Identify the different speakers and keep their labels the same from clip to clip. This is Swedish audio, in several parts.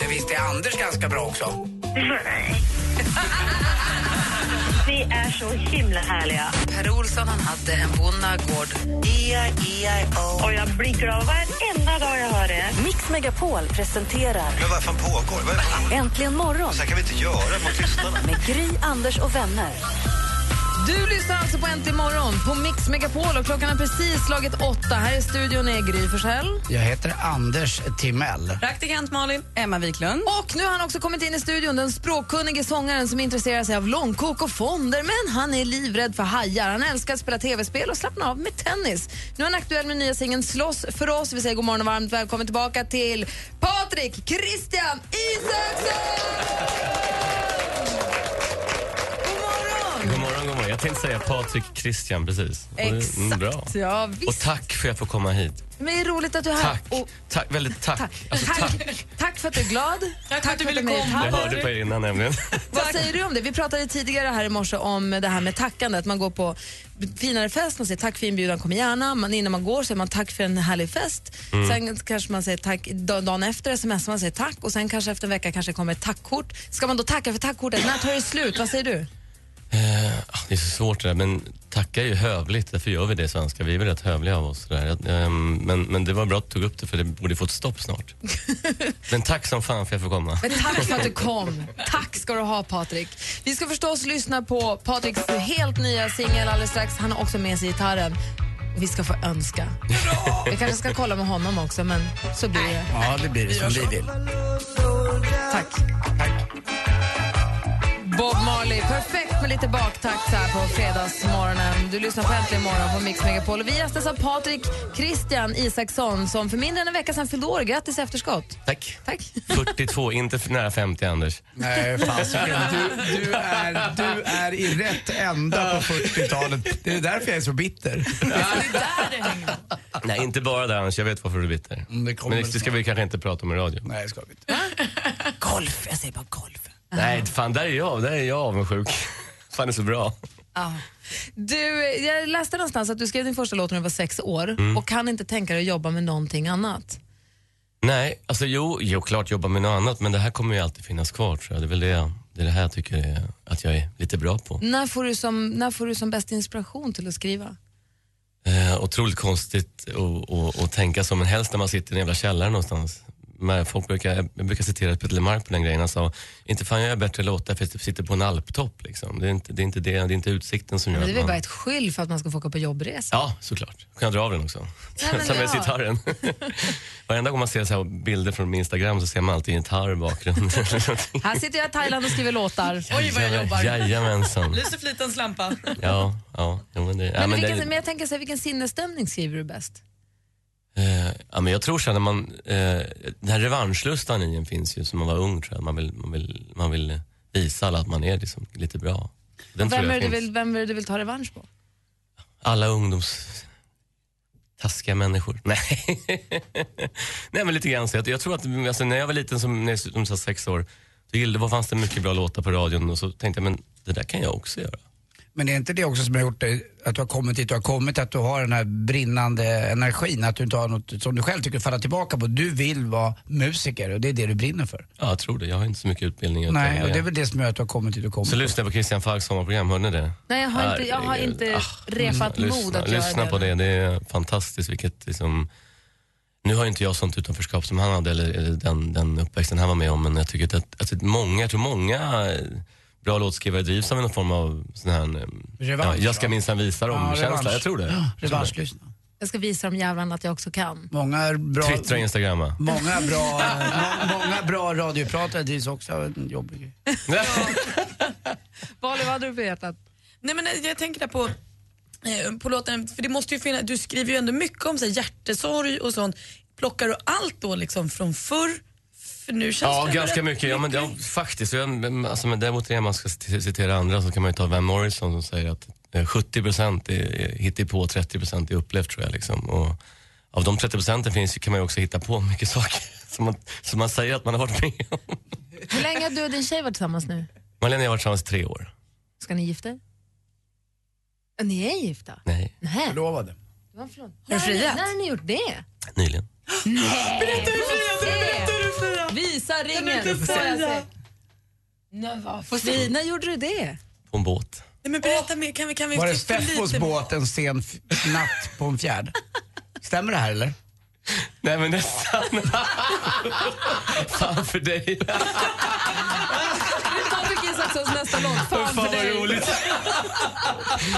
Speaker 1: Det visste Anders ganska bra också.
Speaker 2: Ni är så himla härliga.
Speaker 1: Per Olsson han hade en bonnagård. E-I-E-I-O.
Speaker 2: Och jag blir glad varenda dag jag hör det.
Speaker 3: Mix Megapol presenterar
Speaker 4: Men vad fan pågår? Vad är det?
Speaker 3: Äntligen morgon
Speaker 4: Så här kan vi inte göra mot tystnaden.
Speaker 3: med Gry, Anders och vänner.
Speaker 5: Du lyssnar alltså på Äntligen morgon på Mix Megapol och klockan har precis slagit åtta. Här i studion är Gry Forssell.
Speaker 1: Jag heter Anders Timell.
Speaker 5: Emma Wiklund. Och nu har han också kommit in i studion, den språkkunnige sångaren som intresserar sig av långkok och fonder. Men han är livrädd för hajar. Han älskar att spela tv-spel och slappna av med tennis. Nu är han aktuell med nya singeln Slåss för oss. Vi säger god morgon och varmt välkommen tillbaka till Patrik Christian Isaksson! God morgon!
Speaker 6: God morgon, god morgon. Jag tänkte säga Patrik Christian precis. Och det- mm, bra.
Speaker 5: Exakt, ja
Speaker 6: Och
Speaker 5: visst.
Speaker 6: tack för att jag får komma hit.
Speaker 5: Men det är roligt att du är här.
Speaker 6: Tack.
Speaker 5: Och,
Speaker 6: tack väldigt tack.
Speaker 5: Tack.
Speaker 6: Alltså, tack.
Speaker 5: tack. tack för att du är glad. Tack, för att du ville komma.
Speaker 6: Jag hörde på er innan nämligen.
Speaker 5: Vad säger du om det? Vi pratade tidigare här i morse om det här med tackande, att man går på finare fest, man säger tack för inbjudan, kom gärna. Man, innan man går säger man tack för en härlig fest. Sen kanske man säger tack da- dagen efter, smsar man säger tack och sen kanske efter en vecka kanske kommer ett tackkort. Ska man då tacka för tackkortet? När tar det slut? Vad säger du?
Speaker 6: Ah, Det är så svårt det där, men tacka är ju hövligt. Därför gör vi det svenskar. Vi är väl rätt hövliga av oss. Där. Ehm, Men, men det var bra att du tog upp det, för det borde få ett stopp snart. Men tack som fan för att jag får komma.
Speaker 5: Men tack för att du kom. Tack ska du ha Patrik. Vi ska förstås lyssna på Patriks helt nya singel alldeles strax. Han har också med sig gitarren. Vi ska få önska. Vi kanske ska kolla med honom också, men så blir det.
Speaker 1: Ja, det blir det som vi vill.
Speaker 5: Tack. Bob Marley, perfekt med lite baktakt så här på fredagsmorgonen. Du lyssnar på Äntligen morgon på Mix Megapol. Och vi gästas av Patrik Christian Isaksson som för mindre än en vecka sedan fyllde år. Grattis i efterskott.
Speaker 6: Tack.
Speaker 5: Tack.
Speaker 6: 42, inte för nära 50 Anders.
Speaker 7: Nej, fasiken. Du, du, är, du är i rätt ända på 40-talet. Det är därför jag är så bitter.
Speaker 6: Nej, inte bara där Anders. Jag vet varför du är bitter.
Speaker 7: Mm, det kommer
Speaker 6: men det ska vi kanske inte prata om i radio.
Speaker 7: Nej, jag ska inte.
Speaker 1: Golf, jag säger bara golf.
Speaker 6: Nej, fan där är jag. Där är jag avundsjuk. Fan det är så bra.
Speaker 5: Du, jag läste någonstans att du skrev din första låt när du var sex år
Speaker 6: Mm.
Speaker 5: och kan inte tänka dig att jobba med någonting annat.
Speaker 6: Nej, alltså jo, jo klart jobba med något annat men det här kommer ju alltid finnas kvar tror jag. Det är väl det, jag- det, är det här jag tycker är, att jag är lite bra på.
Speaker 5: När får du som, när får du som bäst inspiration till att skriva?
Speaker 6: Eh, otroligt konstigt att- att- att tänka så men helst när man sitter i en jävla källare någonstans. Men folk brukar, jag brukar citera Peter Lemark på den grejen. Han sa, inte fan jag gör bättre låtar för att jag sitter på en alptopp liksom. Det är inte, det, är inte det, det är inte utsikten som gör
Speaker 5: Det är väl
Speaker 6: att
Speaker 5: bara
Speaker 6: man...
Speaker 5: ett skyll för att man ska få åka på jobbresa.
Speaker 6: Ja, såklart. Kan jag dra av den också?
Speaker 5: men
Speaker 6: Ta med
Speaker 5: ja.
Speaker 6: sig gitarren. Varenda gång man ser så här bilder från min Instagram så ser man alltid en gitarr i bakgrunden.
Speaker 5: Här sitter jag i Thailand och skriver låtar.
Speaker 6: Oj, vad jag jobbar. Jajamensan.
Speaker 2: Lyser flitens lampa.
Speaker 6: Ja, ja. Jo, men det, ja,
Speaker 5: Men,
Speaker 6: men
Speaker 5: vilken,
Speaker 6: det,
Speaker 5: men jag tänker så här, vilken sinnesstämning skriver du bäst?
Speaker 6: eh, ja, men jag tror så här när man, eh, den här revanschlustan i en finns ju som man var ung tror jag. Man vill, man vill, man vill visa alla att man är liksom lite bra. Den tror
Speaker 5: Vem är,
Speaker 6: jag
Speaker 5: det du
Speaker 6: finns.
Speaker 5: vill, vem är det du vill ta revansch på?
Speaker 6: Alla ungdoms... Taskiga människor. Nej. Nej men lite grann så. Jag, jag tror att alltså, när jag var liten, som, när jag, som sagt, sex år, då gillade, då fanns det mycket bra låtar på radion och så tänkte jag men det där kan jag också göra.
Speaker 7: Men det är inte det också som har gjort dig, att du har kommit dit du har kommit, att du har den här brinnande energin, att du inte har något som du själv tycker att falla tillbaka på. Du vill vara musiker och det är det du brinner för.
Speaker 6: Ja, jag tror det. Jag har inte så mycket utbildning. utan
Speaker 7: Nej, och det är väl det som gör att du har kommit dit du har kommit.
Speaker 6: Så lyssna på Christian Falks sommarprogram, hörde ni det?
Speaker 5: Nej, jag har inte, jag har inte repat mod
Speaker 6: Ah, Mm, lyssna,
Speaker 5: att
Speaker 6: lyssna
Speaker 5: göra
Speaker 6: på det. Det är fantastiskt vilket liksom... Nu har ju inte jag sånt utanförskap som han hade eller, eller den, den uppväxten han var med om men jag tycker att, att många, jag tror många eh, bra låtskrivare drivs av någon form av sån här... eh,
Speaker 7: Revansch,
Speaker 6: ja, jag ska
Speaker 7: va?
Speaker 6: minsann visa
Speaker 7: Ja,
Speaker 6: dem-känsla.
Speaker 7: revansch.
Speaker 6: jag tror det.
Speaker 7: Ja,
Speaker 6: Jag tror det.
Speaker 7: Revanschlyssna.
Speaker 5: Jag ska visa de jävlarna att jag också kan.
Speaker 7: Många bra...
Speaker 6: Twittra och instagramma.
Speaker 7: Många bra, må, många bra radiopratare drivs också av en jobbig grej.
Speaker 5: Bali, vad hade du på hjärtat?
Speaker 2: Nej, men jag tänker där på, eh, på låten, för det måste ju finnas, du skriver ju ändå mycket om så här, hjärtesorg och sånt. Plockar du allt då liksom från förr, För nu känns
Speaker 6: Ja,
Speaker 2: det
Speaker 6: ganska
Speaker 2: rätt
Speaker 6: mycket. Ja, men, ja, faktiskt. Jag, men, alltså, men däremot när man ska c- citera andra så kan man ju ta Van Morrison som säger att eh, 70% är är hittepå, 30% är upplevt tror jag. Liksom. Och av de 30 procenten finns, ju- kan man ju också hitta på mycket saker som man, som man säger att man har varit med om.
Speaker 5: Hur länge har du och din tjej varit tillsammans nu?
Speaker 6: Malena och jag har varit tillsammans i tre år.
Speaker 5: Ska ni gifta er? Ja, Ni är gifta?
Speaker 6: Nej,
Speaker 5: Nej.
Speaker 7: Förlovade.
Speaker 5: Vad förlåt?
Speaker 2: Har du friat?
Speaker 5: När har ni gjort det?
Speaker 6: nyligen.
Speaker 5: Nej!
Speaker 2: Berätta hur du friar, berätta hur du friar.
Speaker 5: Visa
Speaker 2: Kan du
Speaker 5: ringen!
Speaker 2: inte
Speaker 5: får jag
Speaker 2: säga?
Speaker 5: se. Fy, När gjorde du det?
Speaker 6: På en båt.
Speaker 2: Nej, men berätta mer, kan vi, kan vi
Speaker 7: Var det
Speaker 2: tysta
Speaker 7: Steffos
Speaker 2: lite?
Speaker 7: båt en sen f- natt på en fjärd? Stämmer det här eller?
Speaker 6: Nej men nästan. Fan för dig.
Speaker 5: Patrik Isakssons nästa låt.
Speaker 6: Fan vad roligt.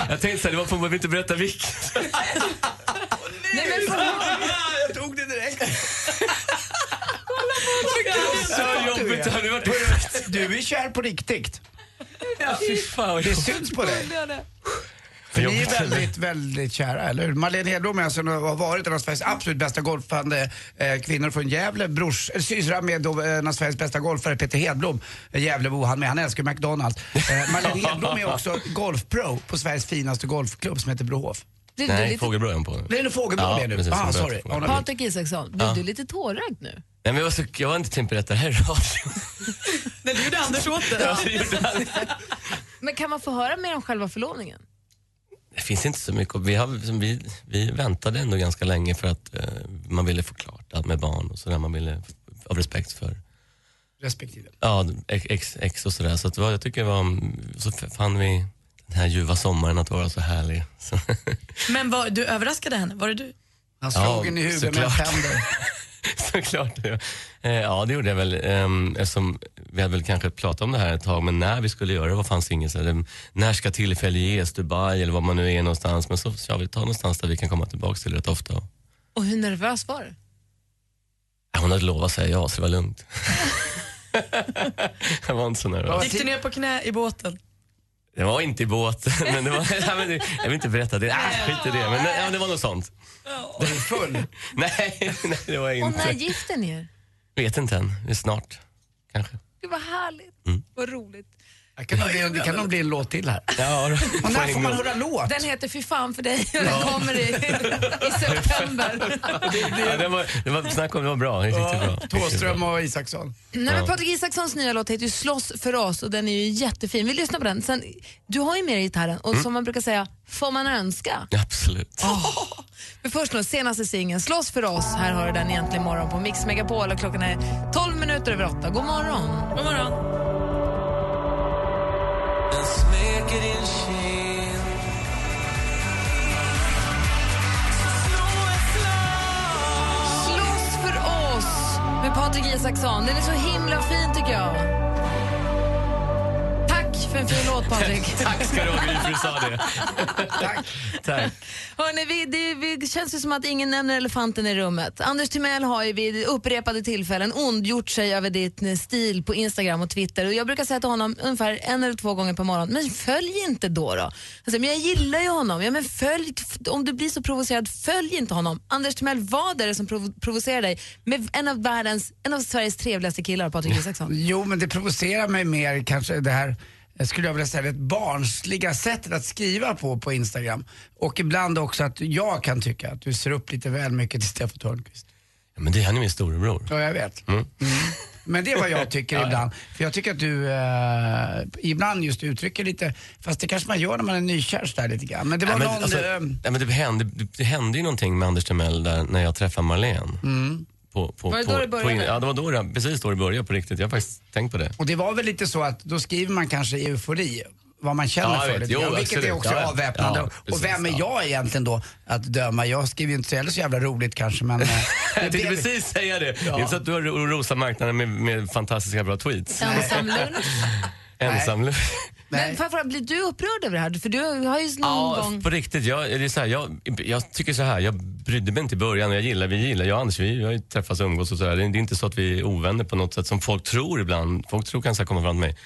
Speaker 6: Jag tänkte såhär, det var för att man vill inte berätta vilken.
Speaker 5: Nej, men förlåt.
Speaker 7: Jag tog det direkt.
Speaker 6: Så jobbigt, det hade varit
Speaker 7: Du är kär på riktigt.
Speaker 6: Fy fan vad
Speaker 7: Det
Speaker 6: jobbigt.
Speaker 7: syns på dig.
Speaker 6: Vad
Speaker 7: Ni är
Speaker 6: jobbigt.
Speaker 7: väldigt, väldigt kära, eller hur? Marlene Hedblom är alltså, har varit en av Sveriges absolut bästa golfande eh, kvinnor från Gävle. Brors, eh, sysra med då, eh, en av Sveriges bästa golfare, Peter Hedblom. Eh, Gävlebo han med, han älskar McDonalds. Eh, Marlene Hedblom är också golfpro på Sveriges finaste golfklubb som heter Brohof.
Speaker 5: Blev du
Speaker 6: Nej,
Speaker 5: lite...
Speaker 6: fågelbröd är hon på nu.
Speaker 7: Blev det fågelblå
Speaker 6: Ja,
Speaker 7: det nu?
Speaker 6: precis,
Speaker 7: ah,
Speaker 6: som
Speaker 7: sorry.
Speaker 6: berättade.
Speaker 7: Hon har-
Speaker 5: Patrik Isaksson, blev du lite tårögd nu?
Speaker 6: Nej, men jag, var så, jag var inte tänkt på detta här i radion.
Speaker 2: Nej, det gjorde Anders åt dig.
Speaker 6: Alltså, det gjorde han.
Speaker 5: Men kan man få höra mer om själva förlovningen?
Speaker 6: Det finns inte så mycket. Vi, har, som vi, vi väntade ändå ganska länge för att eh, man ville få klart allt med barn och sådär. Man ville, av respekt för
Speaker 7: Respektive.
Speaker 6: ja, ex, ex och sådär. Så att, det var- jag tycker det var, mm, så fann vi den här ljuva sommaren att vara så härlig. Så,
Speaker 2: Men var, du överraskade henne, var det du?
Speaker 7: Han slog
Speaker 6: Ja,
Speaker 7: henne i huvudet med
Speaker 6: såklart.
Speaker 7: tänder.
Speaker 6: såklart. Ja. Eh, ja, det gjorde jag väl. Eh, eftersom vi hade väl kanske pratat om det här ett tag, men när vi skulle göra det var fanns ingen så här, eh, När ska tillfälle ges? Dubai eller var man nu är någonstans. Men så ska vi ta någonstans där vi kan komma tillbaka till rätt ofta.
Speaker 5: Och hur nervös var du?
Speaker 6: Ja, Hon hade lovat säga ja, så det var lugnt. jag var inte så nervös.
Speaker 2: Gick du ner på knä i båten?
Speaker 6: Det var inte i båten. Men det var, nej, men det, jag vill inte berätta det. Ah, skit i det. Men nej, ja, det var något sånt.
Speaker 7: Var du full?
Speaker 6: Nej, nej det var jag
Speaker 5: Och när
Speaker 6: inte.
Speaker 5: gifte ni er?
Speaker 6: Vet inte än. Det är snart, kanske.
Speaker 5: Gud vad härligt, vad roligt.
Speaker 7: Det kan nog bli, det kan nog bli en låt till här.
Speaker 6: Ja,
Speaker 7: Och när får man höra låt?
Speaker 5: Den heter Fy fan för dig och den kommer i, i september.
Speaker 6: ja, det var, det var snack om det var bra. Det gick riktigt bra.
Speaker 7: Thåström och Isaksson.
Speaker 5: Nej, men Patrik Isakssons nya låt heter ju Slåss för oss och den är ju jättefin. Vi lyssnar på den. Sen, du har ju med dig gitarren och som man brukar säga, får man önska?
Speaker 6: Absolut.
Speaker 5: Oh. Men först nu, senaste singeln Slåss för oss. Här har du den egentligen imorgon på Mix Megapol och klockan är 12 minuter över 8. God morgon!
Speaker 2: God morgon.
Speaker 5: Slåss för oss med Patrik Isaksson. Den är så himla fin tycker jag. Tack för en fin låt Patrik.
Speaker 6: Tack ska du ha, Gry, för du sa det. Tack. Tack.
Speaker 5: Hörrni, vi, det, vi, det känns ju som att ingen nämner elefanten i rummet. Anders Timell har ju vid upprepade tillfällen ondgjort sig över din stil på Instagram och Twitter. Och jag brukar säga till honom ungefär en eller två gånger per morgon, men följ inte då. då. Han säger, men jag gillar ju honom. Ja, men följ, f- om du blir så provocerad, följ inte honom. Anders Timell, vad är det som provo- provocerar dig med en av, världens, en av Sveriges trevligaste killar, Patrik Isaksson?
Speaker 7: Jo, men det provocerar mig mer kanske det här eh, skulle jag vilja säga, det barnsliga sättet att skriva på på Instagram. Och ibland också att jag kan tycka att du ser upp lite väl mycket till Steffo Törnqvist.
Speaker 6: Ja, men det, han är min storebror.
Speaker 7: Ja, jag vet. Mm. Men det är vad jag tycker ibland. För jag tycker att du eh, ibland just uttrycker lite, fast det kanske man gör när man är nykär sådär lite grann. Men det var
Speaker 6: Nej, men,
Speaker 7: någon...
Speaker 6: alltså,
Speaker 7: eh,
Speaker 6: nej, men det, hände, typ, det, det hände ju någonting med Anders Timell där när jag träffade Marlene.
Speaker 7: mm.
Speaker 6: På, på,
Speaker 5: Var det
Speaker 6: på,
Speaker 5: då det började?
Speaker 6: På, in- ja, det var då det, precis då det började på riktigt. Jag har faktiskt tänkt på det.
Speaker 7: Och det var väl lite så att då skriver man kanske i eufori vad man känner
Speaker 6: Ja, jag
Speaker 7: för
Speaker 6: vet.
Speaker 7: det.
Speaker 6: Jo,
Speaker 7: vilket är
Speaker 6: absolut.
Speaker 7: också
Speaker 6: Ja, ja.
Speaker 7: avväpnande.
Speaker 6: Ja, precis,
Speaker 7: och vem är
Speaker 6: ja.
Speaker 7: jag egentligen då att döma? Jag skriver ju inte så heller så jävla roligt kanske men... eh,
Speaker 6: Jag tänkte precis säga det. Det är inte så att du har ro- rosat marknaden med, med fantastiska bra tweets.
Speaker 5: Ensam lunch.
Speaker 6: Ensam.
Speaker 5: Men får jag fråga, blir du upprörd över det här? För du har ju någon
Speaker 6: Ja,
Speaker 5: gång...
Speaker 6: på riktigt. Jag, det är så här, jag, jag tycker så här, jag brydde mig inte i början. och Jag gillar, vi gillar, jag och Anders vi har ju träffats och umgås och så här. Det är det är inte så att vi är ovänner på något sätt som folk tror ibland. Folk tror kanske att komma fram till mig.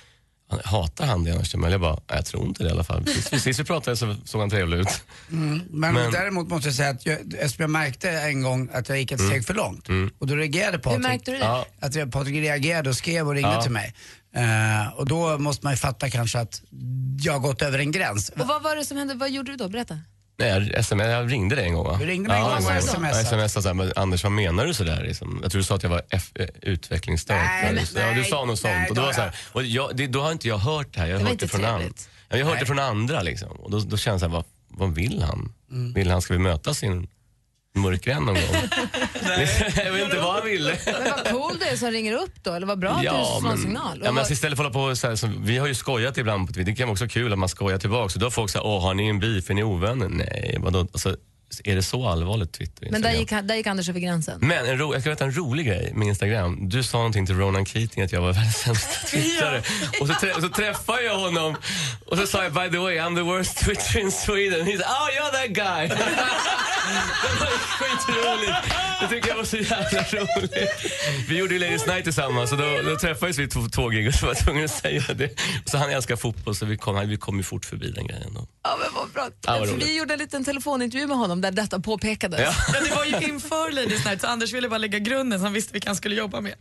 Speaker 6: han- hatar han det annars? Timell? Jag bara, "Nej, jag tror inte det i alla fall. Precis, sist vi pratade så såg han trevlig ut.
Speaker 7: Mm. Men,
Speaker 6: Men-
Speaker 7: däremot måste jag säga att jag, eftersom jag märkte en gång att jag gick ett
Speaker 6: Mm.
Speaker 7: steg för långt
Speaker 6: Mm.
Speaker 7: och då reagerade Patrik.
Speaker 6: märkte du det? Ja.
Speaker 7: Att jag, Patrik reagerade och skrev och ringde
Speaker 6: Ja.
Speaker 7: till mig. Eh, och då måste man ju fatta kanske att jag har gått över en gräns.
Speaker 5: Och vad var det som hände? Vad gjorde du då? Berätta.
Speaker 6: Nej, jag, sms, jag ringde dig en gång va?
Speaker 7: Du ringde mig en gång och
Speaker 6: jag smsade.
Speaker 7: smsade.
Speaker 6: Jag smsade så här, men Anders vad menar du sådär? Liksom? Jag tror du sa att jag var F- eh, utvecklingsstörd.
Speaker 7: Nej,
Speaker 6: Ja,
Speaker 7: men-
Speaker 6: just det. ja, du
Speaker 7: nej,
Speaker 6: sa något sånt.
Speaker 7: nej,
Speaker 6: och då,
Speaker 7: då-
Speaker 6: var jag så här, och jag, det, då har inte jag hört det här. Jag
Speaker 7: Det
Speaker 6: har
Speaker 7: var
Speaker 6: hört det
Speaker 7: inte
Speaker 6: från, an,
Speaker 7: trevligt.
Speaker 6: Ja, jag har hört
Speaker 7: Nej.
Speaker 6: det från andra. Liksom. Och då, då känns jag, vad, vad vill han?
Speaker 7: Mm.
Speaker 6: Vill han, ska vi mötas i en mörkgrän någon gång? jag vet inte vad han ville.
Speaker 5: Men vad cool det är som ringer upp då, eller vad bra att du får en signal. Och
Speaker 6: Ja, men
Speaker 5: vad-
Speaker 6: alltså istället för att hålla på så här, som- vi har ju skojat ibland, på Twitter. det kan vara också kul att man skojar tillbaka. Så då har folk sagt, åh har ni en beef, är ni ovänner? Nej, vadå? Alltså, är det så allvarligt Twitter? och
Speaker 5: men där
Speaker 6: Instagram?
Speaker 5: gick, han- där gick Anders över gränsen.
Speaker 6: Men en ro, jag ska berätta en rolig grej med Instagram. Du sa någonting till Ronan Keating att jag var världens sämsta twittrare. Och, så trä, och så träffade jag honom och så sa jag by the way I'm the worst twitter in Sweden. He's oh you're that guy. det var ju skitroligt. Det tycker jag var så jävla roligt. Vi gjorde ju Ladies Night tillsammans och då, då tvärfades vi två två gig och så var jag tvungen att säga det. Så han älskar fotboll så vi kom, vi kom ju fort förbi den grejen då.
Speaker 5: Ja, men vad bra.
Speaker 6: Ja,
Speaker 5: För
Speaker 6: vad roligt.
Speaker 5: Alltså, vi gjorde en liten telefonintervju med honom där detta påpekades.
Speaker 6: Ja.
Speaker 2: Ja, det var ju inför Ladies Night, så Anders ville bara lägga grunden så han visste vilka han skulle jobba med.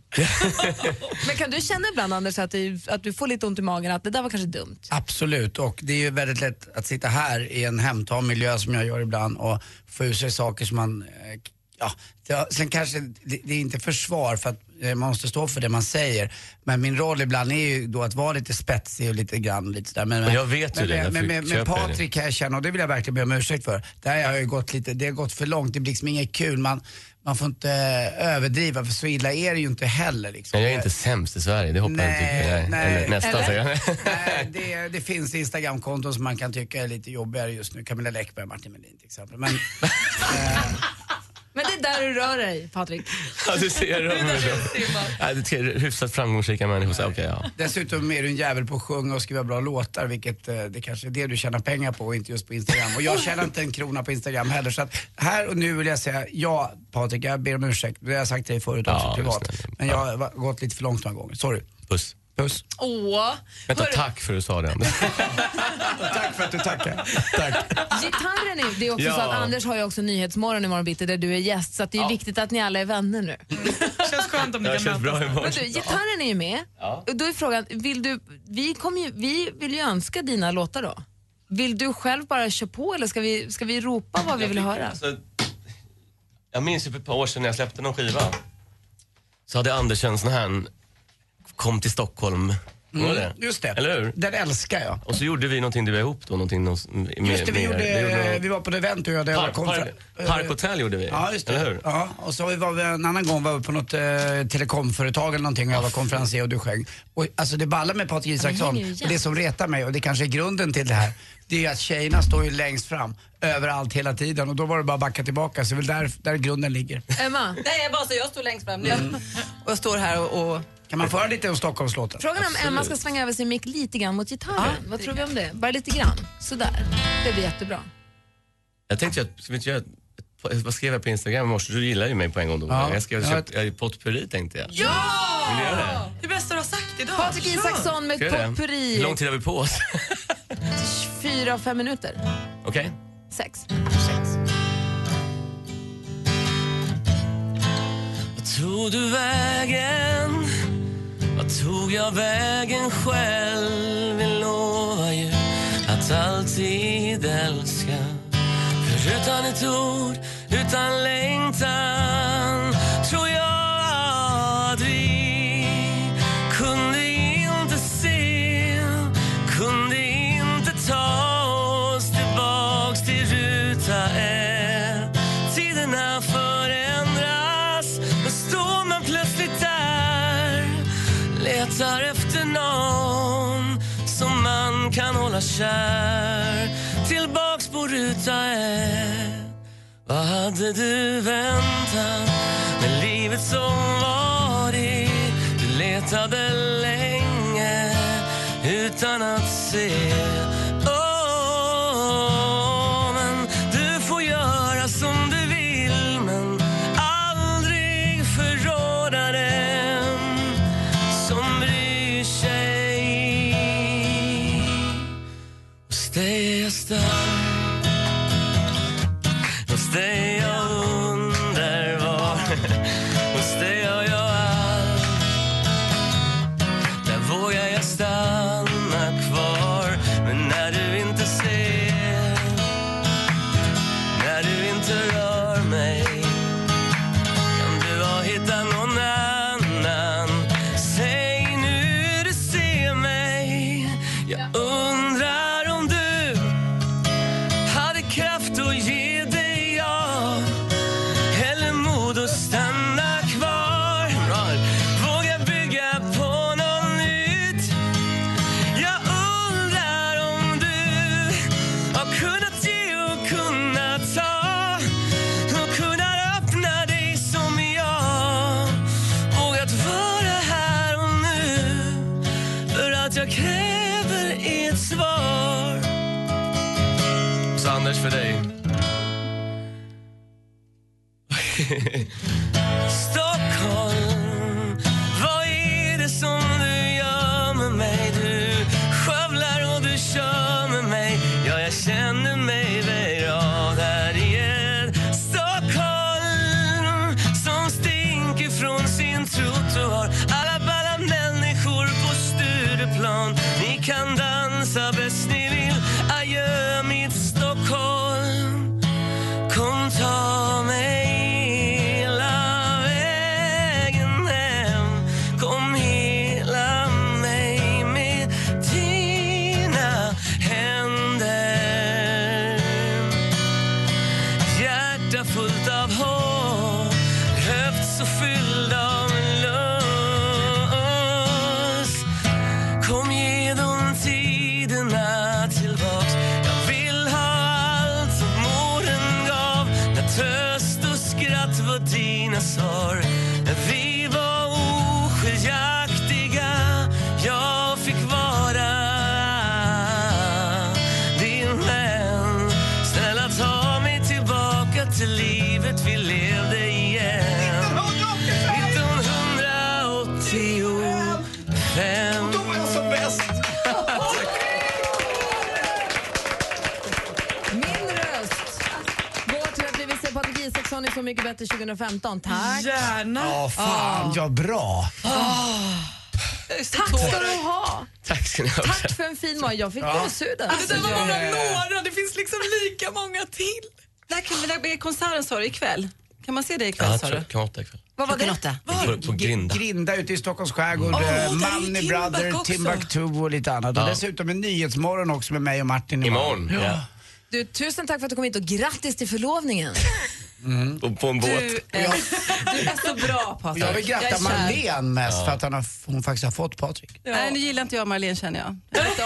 Speaker 5: Men kan du känna ibland Anders att du, att du får lite ont i magen, att det där var kanske dumt?
Speaker 7: Absolut, och det är ju väldigt lätt att sitta här i en hemtam miljö som jag gör ibland och få ur sig saker som man, eh, ja, det- sen kanske det, det är inte försvar för att eh, man måste stå för det man säger. Men min roll ibland är ju då att vara lite spetsig och lite grann lite sådär. Men,
Speaker 6: Men jag vet ju
Speaker 7: men,
Speaker 6: det,
Speaker 7: Men,
Speaker 6: därför
Speaker 7: men, men, men
Speaker 6: köper jag det.
Speaker 7: Patrik kan jag känna, och det vill jag verkligen be om ursäkt för, där har jag ju gått lite, det har gått för långt, det blir liksom inget kul. Man, man får inte eh, överdriva för så illa är det ju inte heller liksom.
Speaker 6: Jag är inte sämst i Sverige, det hoppar jag inte
Speaker 7: Nej,
Speaker 6: tycker
Speaker 7: nej.
Speaker 6: Eller nästan
Speaker 7: Eller?
Speaker 6: säger jag.
Speaker 7: Nej, det, det finns Instagramkonton som man kan tycka är lite jobbigare just nu. Camilla Läckberg och Martin Melin till exempel. Men,
Speaker 5: Men det är där du rör dig, Patrik.
Speaker 6: Ja, du ser dem. Ja, det är hyfsat framgångsrika människor. Så, okay, ja.
Speaker 7: dessutom är du en jävel på att sjunga och skriva bra låtar, vilket eh, det kanske är det du tjänar pengar på och inte just på Instagram. Och jag tjänar inte en krona på Instagram heller. Så att här och nu vill jag säga, ja Patrik, jag ber om ursäkt. Det har jag sagt till dig förut också
Speaker 6: Ja,
Speaker 7: privat.
Speaker 6: just det.
Speaker 7: Men jag har va- gått lite för långt några gånger. Sorry.
Speaker 6: Puss.
Speaker 7: Puss.
Speaker 5: Åh!
Speaker 6: Vänta,
Speaker 5: Hörru,
Speaker 6: tack för att du sa det.
Speaker 7: tack för att du tackade.
Speaker 5: Gitarren är, det är också
Speaker 6: Ja.
Speaker 5: så att Anders har ju också Nyhetsmorgon imorgon bitti där du är gäst så att det är viktigt att ni alla är vänner nu.
Speaker 2: känns skönt om ni
Speaker 6: Jag
Speaker 2: kan
Speaker 6: känns
Speaker 2: mötas.
Speaker 6: bra imorgon.
Speaker 5: Men du, gitarren är ju med.
Speaker 6: Ja.
Speaker 5: Och Då är frågan, vill du, vi, kommer ju, vi vill ju önska dina låtar då. Vill du själv bara köra på eller ska vi, ska vi ropa vad vi vill höra?
Speaker 6: Alltså, jag minns ju för ett par år sedan när jag släppte någon skiva. Så hade Andersen sån här, kom till Stockholm.
Speaker 7: Mm.
Speaker 6: Var det?
Speaker 7: Just det.
Speaker 6: Eller hur?
Speaker 7: Den älskar jag.
Speaker 6: Och så gjorde vi någonting du var ihop då. Någonting, någon, med,
Speaker 7: Just det, vi,
Speaker 6: med-
Speaker 7: gjorde,
Speaker 6: någon-
Speaker 7: vi var på ett event du och jag. där jag
Speaker 6: Park,
Speaker 7: kom
Speaker 6: park,
Speaker 7: fra-
Speaker 6: parkhotell gjorde vi.
Speaker 7: Ja, just det.
Speaker 6: Eh, Eller hur?
Speaker 7: Ja, och så var vi en annan gång var vi på något eh, telekomföretag eller någonting och jag var konferencier och du sjöng. Och, alltså det ballar med Patrik Isaksson,
Speaker 5: hänger ju
Speaker 7: och det som retar mig och det kanske är grunden till det här, det är ju att tjejerna står ju längst fram överallt hela tiden och då var det bara att backa tillbaka så det är väl där, där grunden ligger.
Speaker 5: Emma?
Speaker 8: Nej, bara så jag står längst fram. Och jag står här och... och...
Speaker 7: Kan man föra lite om Stockholmslåten?
Speaker 5: Frågan är om Emma ska svänga över sin mick lite grann mot gitarren. Vad tror vi om det? Bara lite grann. Sådär. Det blir jättebra.
Speaker 6: Jag tänkte ju att, ska vi inte göra, ett- vad skrev jag på Instagram i morse? Du gillar ju mig på en gång då.
Speaker 7: Ja.
Speaker 6: Jag skrev,
Speaker 7: Ja.
Speaker 6: jag köpte, jag, potpurri tänkte jag. Vill du göra det?
Speaker 2: Det bästa du har sagt idag.
Speaker 5: Patrik
Speaker 2: Kör.
Speaker 5: Isaksson med
Speaker 6: Ska jag det? Hur
Speaker 5: potpurri.
Speaker 6: lång tid har vi på oss?
Speaker 5: Fyra, fem minuter.
Speaker 6: Okej.
Speaker 5: Sex.
Speaker 6: Vad tog du vägen? Vad tog jag vägen själv? Vi lovar ju att alltid älska För utan ett ord, utan längtan tror jag att vi kunde inte se kunde inte ta oss tillbaks till ruta ett Tiderna förändras, då står man plötsligt där Letar efter någon som man kan hålla kär Tillbaks på ruta ett Vad hade du väntat med livet som varit? Du letade länge utan att se Åh, men du får göra som du vill men aldrig förråda den som bryr sig
Speaker 9: Hos dig jag underbar Hos dig gör jag allt Där vågar jag stanna kvar Men när du inte ser När du inte rör mig Kan du ha hittat någon annan Säg nu du ser mig Jag undrar om du hade kraft att ge dig jag Eller mod att stanna kvar Right. Våga bygga på något nytt Jag undrar om du har kunnat ge och kunnat ta Och kunnat öppna dig som jag Vågat vara här och nu För att jag kräver ett svar
Speaker 6: Så Anders, för dig.
Speaker 9: Stockholm, vad är det som du gör med mig? Du skövlar och du kör med mig. Ja, jag känner mig berörd här igen. Stockholm, som stinker från sin trottoar. Alla balla människor på Stureplan. Ni kan dansa bäst ni vill. Adjö, mitt Stockholm. Kom ta mig hela vägen hem Kom hela mig med dina händer Hjärta fullt av hopp Höft så fylld av lust Kom ge de tiderna tillbaks Jag vill ha allt som våren gav När tröst och skratt var dina svar När vi var oskiljaktiga Jag fick vara din vän Snälla ta mig tillbaka till livet vi levde igen 1985 Och då var jag som bäst!
Speaker 10: Min röst går till att vi vill se Patrik Isaksson i Så mycket bättre 2015. Tack.
Speaker 2: Gärna. Ah.
Speaker 7: Ja, fan, ja bra.
Speaker 5: Ah.
Speaker 10: Tack ska du ha.
Speaker 6: Tack ska ni ha.
Speaker 10: Tack för en fin morgon. Jag fick
Speaker 6: Ja.
Speaker 10: gåshud.
Speaker 2: Alltså, det där var bara några,
Speaker 8: det finns liksom lika många till. Där kan vi där blir konserten sa du ikväll. Kan man se dig
Speaker 6: Ja,
Speaker 8: ikväll
Speaker 6: jag
Speaker 8: sa
Speaker 6: tror
Speaker 8: du?
Speaker 6: jag kan åka ikväll.
Speaker 8: Vad var det? Åtta.
Speaker 6: På, på Grinda.
Speaker 7: Grinda ute i Stockholms skärgård,
Speaker 6: Mm.
Speaker 7: oh,
Speaker 6: Åh, där är
Speaker 7: Money
Speaker 6: Timbuk
Speaker 7: Brother,
Speaker 6: också.
Speaker 7: Timbuktu och lite annat. Och
Speaker 6: Ja.
Speaker 7: dessutom en nyhetsmorgon också med mig och Martin imorgon.
Speaker 6: Imorgon,
Speaker 7: Ja.
Speaker 10: Du, tusen tack för att du kom hit och grattis till förlovningen.
Speaker 6: Och på en båt.
Speaker 10: Du eh, är, du är så bra
Speaker 7: Och
Speaker 10: Patrik.
Speaker 7: Mm. jag vill
Speaker 8: Jag är
Speaker 7: gratta
Speaker 8: kär.
Speaker 7: Marlene mest
Speaker 8: Ja.
Speaker 7: för att han har, hon faktiskt har fått Patrik.
Speaker 8: Nej, nu gillar inte jag Marlene känner jag.
Speaker 10: Tusen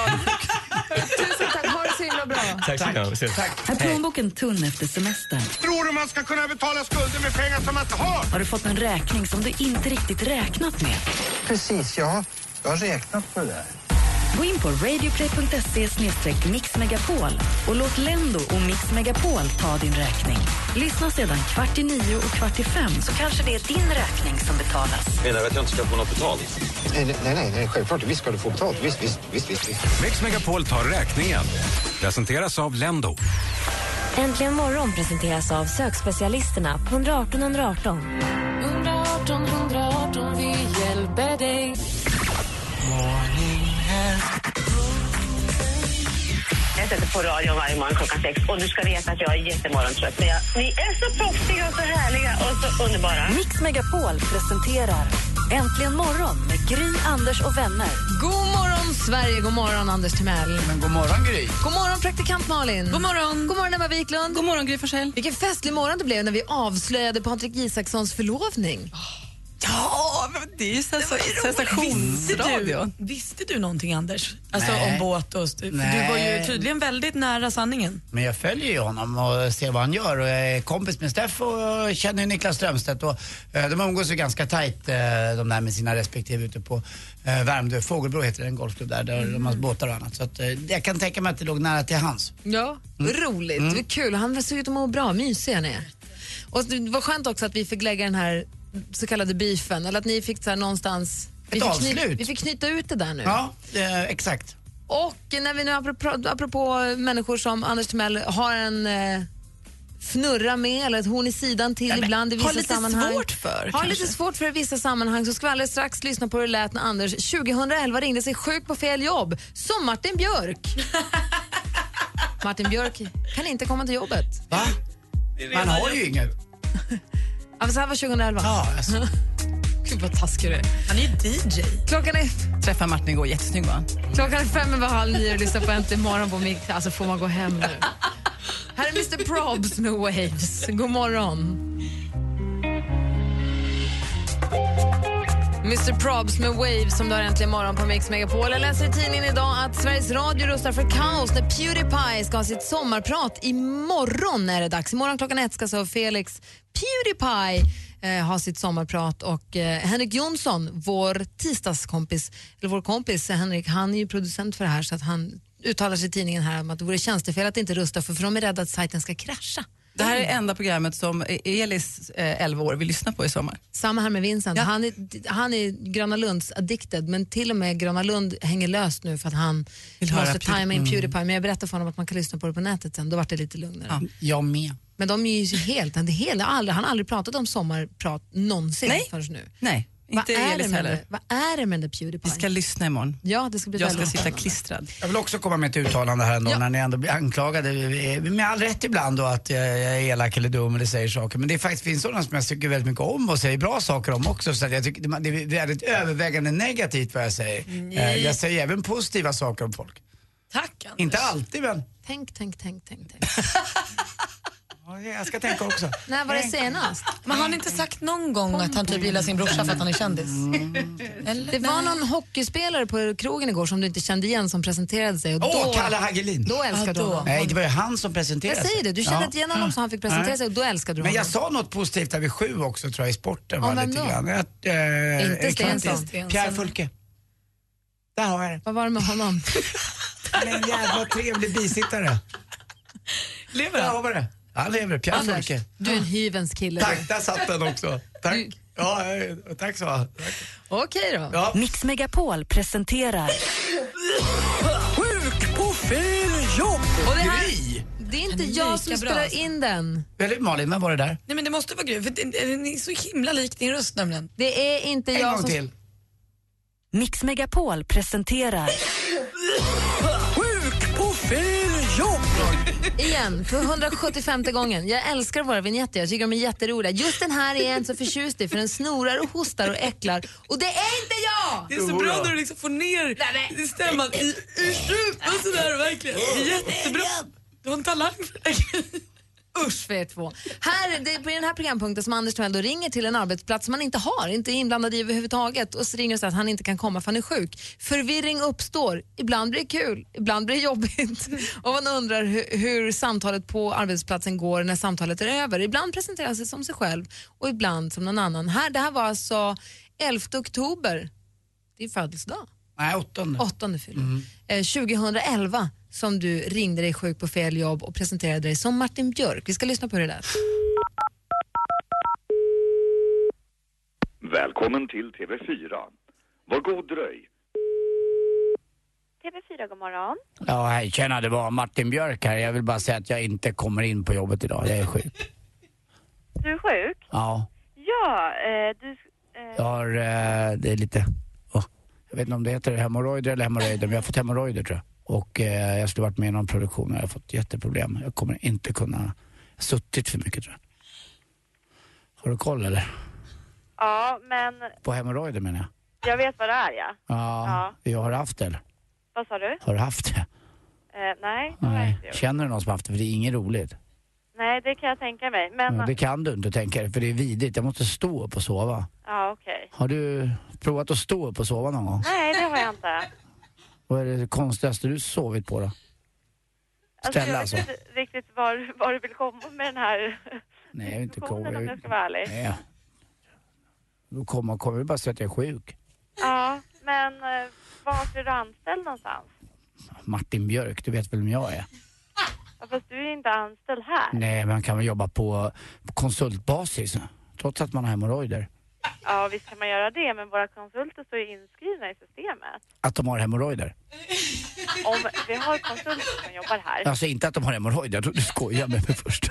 Speaker 10: tack, ha det så himla bra.
Speaker 6: Tack ska ni ha. Vi ses.
Speaker 11: Är plånboken tunn efter semestern?
Speaker 12: Tror du man ska kunna betala skulder med pengar som man inte har?
Speaker 11: Har du fått en räkning som du inte riktigt räknat med?
Speaker 13: Precis, jag har, jag har räknat på det där.
Speaker 11: Gå in på radioplay.se mixmegapol och låt Lendo och Mix Megapol ta din räkning. Lyssna sedan kvart i nio och kvart i fem så kanske det är din räkning som betalas.
Speaker 14: Menar du att jag inte ska få något betalt?
Speaker 13: Nej, nej, nej, nej självklart. Visst ska du få betalt. Visst, visst, visst, visst. visst.
Speaker 15: Mix Megapol tar räkningen. Presenteras av Lendo.
Speaker 16: Äntligen morgon presenteras av sökspecialisterna på 118 118.
Speaker 17: 118 118, vi hjälper dig.
Speaker 18: Jag sätter på radion varje morgon klockan sex och du ska veta att jag är jättemorgontrött. Men jag, ni är så proffsiga och så härliga och så underbara.
Speaker 11: Mix Megapol presenterar Äntligen morgon med Gry, Anders och vänner.
Speaker 10: God morgon Sverige, god morgon Anders Timell.
Speaker 7: Men god morgon Gry.
Speaker 10: God morgon praktikant Malin.
Speaker 8: God morgon.
Speaker 10: God morgon Emma Wiklund. God morgon Gry Forssell. Vilken festlig morgon det blev när vi avslöjade Patrik Isakssons förlovning.
Speaker 8: Ja, men det är ju sens- sensationsradio.
Speaker 2: Visste du, visste du någonting Anders? Alltså
Speaker 7: Nej.
Speaker 2: om båt och... För du
Speaker 7: Nej.
Speaker 2: var ju tydligen väldigt nära sanningen.
Speaker 7: Men jag följer ju honom och ser vad han gör och jag är kompis med Steff och känner ju Niklas Strömstedt och eh, de umgås ju ganska tajt eh, de där med sina respektive ute på eh, Värmdö, Fågelbro heter det, en golfklubb där, där de har båtar och annat. Så att, eh, jag kan tänka mig att det låg nära till hans.
Speaker 10: Ja, Mm. roligt.
Speaker 7: Mm.
Speaker 10: Det var kul. Han såg ut att må bra. Mysig han är. Och det var skönt också att vi fick lägga den här så kallade beefen, eller att ni fick så här någonstans...
Speaker 7: Ett
Speaker 10: vi, fick kny-
Speaker 7: avslut.
Speaker 10: vi fick knyta ut det där nu.
Speaker 7: Ja, eh, exakt.
Speaker 5: Och när vi nu apropå, apropå människor som Anders Timell har en eh, fnurra med eller ett horn i sidan till
Speaker 8: Ja, men,
Speaker 5: ibland i vissa
Speaker 8: har lite
Speaker 5: sammanhang.
Speaker 8: svårt för,
Speaker 5: Har
Speaker 8: kanske.
Speaker 5: lite svårt för i vissa sammanhang så ska vi alldeles strax lyssna på hur det lät när Anders 2011 ringde sig sjuk på fel jobb som Martin Björk. Martin Björk kan inte komma till jobbet.
Speaker 7: Va? Man har ju inget.
Speaker 5: Ja, men så här var 2011. Ja,
Speaker 7: alltså.
Speaker 8: Gud vad taskig du är. Han är ju DJ.
Speaker 5: Klockan är
Speaker 8: Träffar Martin igår, jättesnygg va?
Speaker 5: Klockan är fem över halv nio och lyssnar på Äntligen morgon på Mix. Alltså får man gå hem nu? Här är Mr Probs med Waves. God morgon. Mr Probs med Waves som du har äntligen morgon på Mix Megapol. Jag läser i tidningen idag att Sveriges Radio rustar för kaos när Pewdiepie ska ha sitt sommarprat. Imorgon är det dags. Imorgon klockan ett ska så Felix Pewdiepie eh, ha sitt sommarprat och eh, Henrik Jonsson, vår tisdagskompis, eller vår kompis eh, Henrik, han är ju producent för det här så att han uttalar sig i tidningen här om att det vore tjänstefel att inte rusta för, för de är rädda att sajten ska krascha.
Speaker 8: Det här är enda programmet som E- Elis, eh, 11 år, vill lyssna på i sommar.
Speaker 5: Samma här med Vincent. Han, är, han är Gröna Lunds addicted men till och med Gröna Lund hänger löst nu för att han
Speaker 8: Vill höra
Speaker 5: måste
Speaker 8: Pewdie-
Speaker 5: tajma in
Speaker 8: Mm.
Speaker 5: Pewdiepie. Men jag berättade för honom att man kan lyssna på det på nätet sen. Då vart det lite lugnare.
Speaker 7: Jag med.
Speaker 5: Men de är ju helt, han, helt, aldrig, han har aldrig pratat om sommarprat någonsin
Speaker 8: Nej.
Speaker 5: förrän nu.
Speaker 8: Nej, inte
Speaker 5: vad är det
Speaker 8: Elis
Speaker 5: med
Speaker 8: heller.
Speaker 5: det? Vad är det med det
Speaker 8: Vi
Speaker 5: Pewdiepie?
Speaker 8: ska lyssna imorgon.
Speaker 5: Ja, det ska bli
Speaker 8: Jag
Speaker 5: väldigt
Speaker 8: ska sitta
Speaker 5: spännande.
Speaker 8: klistrad.
Speaker 7: Jag vill också komma med ett uttalande här ändå när ni ändå blir anklagade, eh, med all rätt ibland då att jag jag är elak eller dum eller säger saker. Men det faktiskt finns sådana som jag tycker väldigt mycket om och säger bra saker om också. Så att jag tycker det är väldigt övervägande negativt vad jag säger. Eh, Jag säger även positiva saker om folk.
Speaker 2: Tack
Speaker 7: Inte alltid men
Speaker 5: Tänk, tänk, tänk, tänk. tänk.
Speaker 7: Ja, jag ska tänka också.
Speaker 5: När var det senast?
Speaker 2: Men har han inte sagt någon gång att han typ gillar sin brorsa för att han är kändis?
Speaker 7: Mm.
Speaker 2: Eller?
Speaker 5: Det var någon hockeyspelare på krogen igår som du inte kände igen som presenterade sig. och
Speaker 7: Åh,
Speaker 5: då-
Speaker 7: Kalle Hagelin.
Speaker 5: Då älskade du honom.
Speaker 7: Nej, det var ju han som presenterade
Speaker 5: Jag säger det, du kände
Speaker 7: Ja.
Speaker 5: inte igen honom så han fick presentera
Speaker 7: Nej.
Speaker 5: sig och då älskade du
Speaker 7: Men
Speaker 5: honom.
Speaker 7: jag sa något positivt där vid sju också tror jag i sporten.
Speaker 5: Om
Speaker 7: Var
Speaker 5: vem
Speaker 7: lite
Speaker 5: då?
Speaker 7: grann. Att, eh,
Speaker 5: Inte Stensson.
Speaker 7: faktiskt, Pierre Fulke. Där har jag det.
Speaker 5: Vad var det med honom?
Speaker 7: Han är en jävla trevlig bisittare. Lever han? Ja, var det. Han lever. Pierre
Speaker 5: Anders,
Speaker 7: Fulke.
Speaker 5: du är en hyvens kille.
Speaker 7: Tack, där satt den också. Tack. Ja, eh, tack så. Tack.
Speaker 5: Okej då.
Speaker 7: Ja.
Speaker 11: Mix Megapol presenterar...
Speaker 7: Sjuk på fel jobb!
Speaker 5: Och det, här, det är inte
Speaker 2: Den är
Speaker 5: jag
Speaker 2: lika
Speaker 5: som
Speaker 2: bra,
Speaker 5: spelar
Speaker 2: alltså.
Speaker 5: in den.
Speaker 7: Eller Malin, vem var det där?
Speaker 2: Nej men det måste vara Gry, för den den är så himla lik din röst nämligen.
Speaker 5: Det är inte
Speaker 7: En gång till.
Speaker 11: Mix Megapol presenterar...
Speaker 7: Sjuk på fel jobb!
Speaker 5: Igen, för 175 gången. Jag älskar våra vignetter, jag tycker de är jätteroliga. Just den här är jag inte så förtjust i för den snorar och hostar och äcklar. Och det är inte jag!
Speaker 2: Det är så bra när du liksom får ner stämman i, i strupen sådär verkligen. Det är jättebra. Du har en talang för det.
Speaker 5: Usch för er två. Här, det är på den här programpunkten som Anders Timell då ringer till en arbetsplats som han inte har, inte är inblandad i överhuvudtaget och så ringer och säger att han inte kan komma för han är sjuk. Förvirring uppstår. Ibland blir det kul, ibland blir det jobbigt. Och man undrar hur, hur samtalet på arbetsplatsen går när samtalet är över. Ibland presenterar han sig som sig själv och ibland som någon annan. Här, det här var alltså 11 oktober. Det är födelsedag.
Speaker 7: Nej, åttonde. Mm.
Speaker 5: Åttonde fyller. Eh, 2011 som du ringde dig sjuk på fel jobb och presenterade dig som Martin Björk. Vi ska lyssna på hur det lät.
Speaker 19: Välkommen till TV4. Var god dröj.
Speaker 18: TV4, god morgon.
Speaker 7: Ja, hej, tjena, det var Martin Björk här. Jag vill bara säga att jag inte kommer in på jobbet idag. Jag är sjuk.
Speaker 18: Du är sjuk?
Speaker 7: Ja,
Speaker 18: Ja, eh, du... Eh,
Speaker 7: jag har... Eh, det är lite... åh, jag vet inte om det heter hemorrojder eller hemorrojder, men jag har fått hemorrojder tror jag. Och eh, jag skulle varit med i någon produktion och jag har fått jätteproblem. Jag kommer inte kunna... Jag har suttit för mycket tror jag. Har du koll eller?
Speaker 18: ja, men
Speaker 7: På hemorrojder menar jag.
Speaker 18: jag vet vad det är, ja.
Speaker 7: Ja, Jag har haft det eller?
Speaker 18: Vad sa du?
Speaker 7: Har du haft det?
Speaker 18: Eh, nej,
Speaker 7: Nej.
Speaker 18: inte gjort.
Speaker 7: Känner du någon som haft det? För det är inget roligt.
Speaker 18: nej, det kan jag tänka mig. Men...
Speaker 7: Ja,
Speaker 18: Ja,
Speaker 7: det kan du inte tänka dig, för det är vidrigt. Jag måste stå upp och sova.
Speaker 18: okej.
Speaker 7: Har du provat att stå upp och sova någon gång?
Speaker 18: Nej, det har jag inte.
Speaker 7: Vad är det konstigaste du sovit på då? Ställa alltså?
Speaker 18: Jag vet inte riktigt var, var du vill komma med den här
Speaker 7: Nej, jag är inte kom.
Speaker 18: diskussionen om jag
Speaker 7: Jag...
Speaker 18: ska vara ärlig.
Speaker 7: Nej. Då kommer kommer vi bara säga att jag är sjuk.
Speaker 18: Ja, men eh, vart är du anställd någonstans?
Speaker 7: Martin Björk, du vet väl vem jag är?
Speaker 18: Ja, fast du är inte anställd här.
Speaker 7: Nej, man kan väl jobba på konsultbasis, trots att man har hemorrojder.
Speaker 18: Ja, visst kan man göra det, men våra konsulter står ju inskrivna i systemet.
Speaker 7: Att de har hemorrojder?
Speaker 18: Åh,
Speaker 20: om, vi har konsulter som jobbar här.
Speaker 7: Alltså inte att de har hemorrojder, jag trodde du skojade med mig först.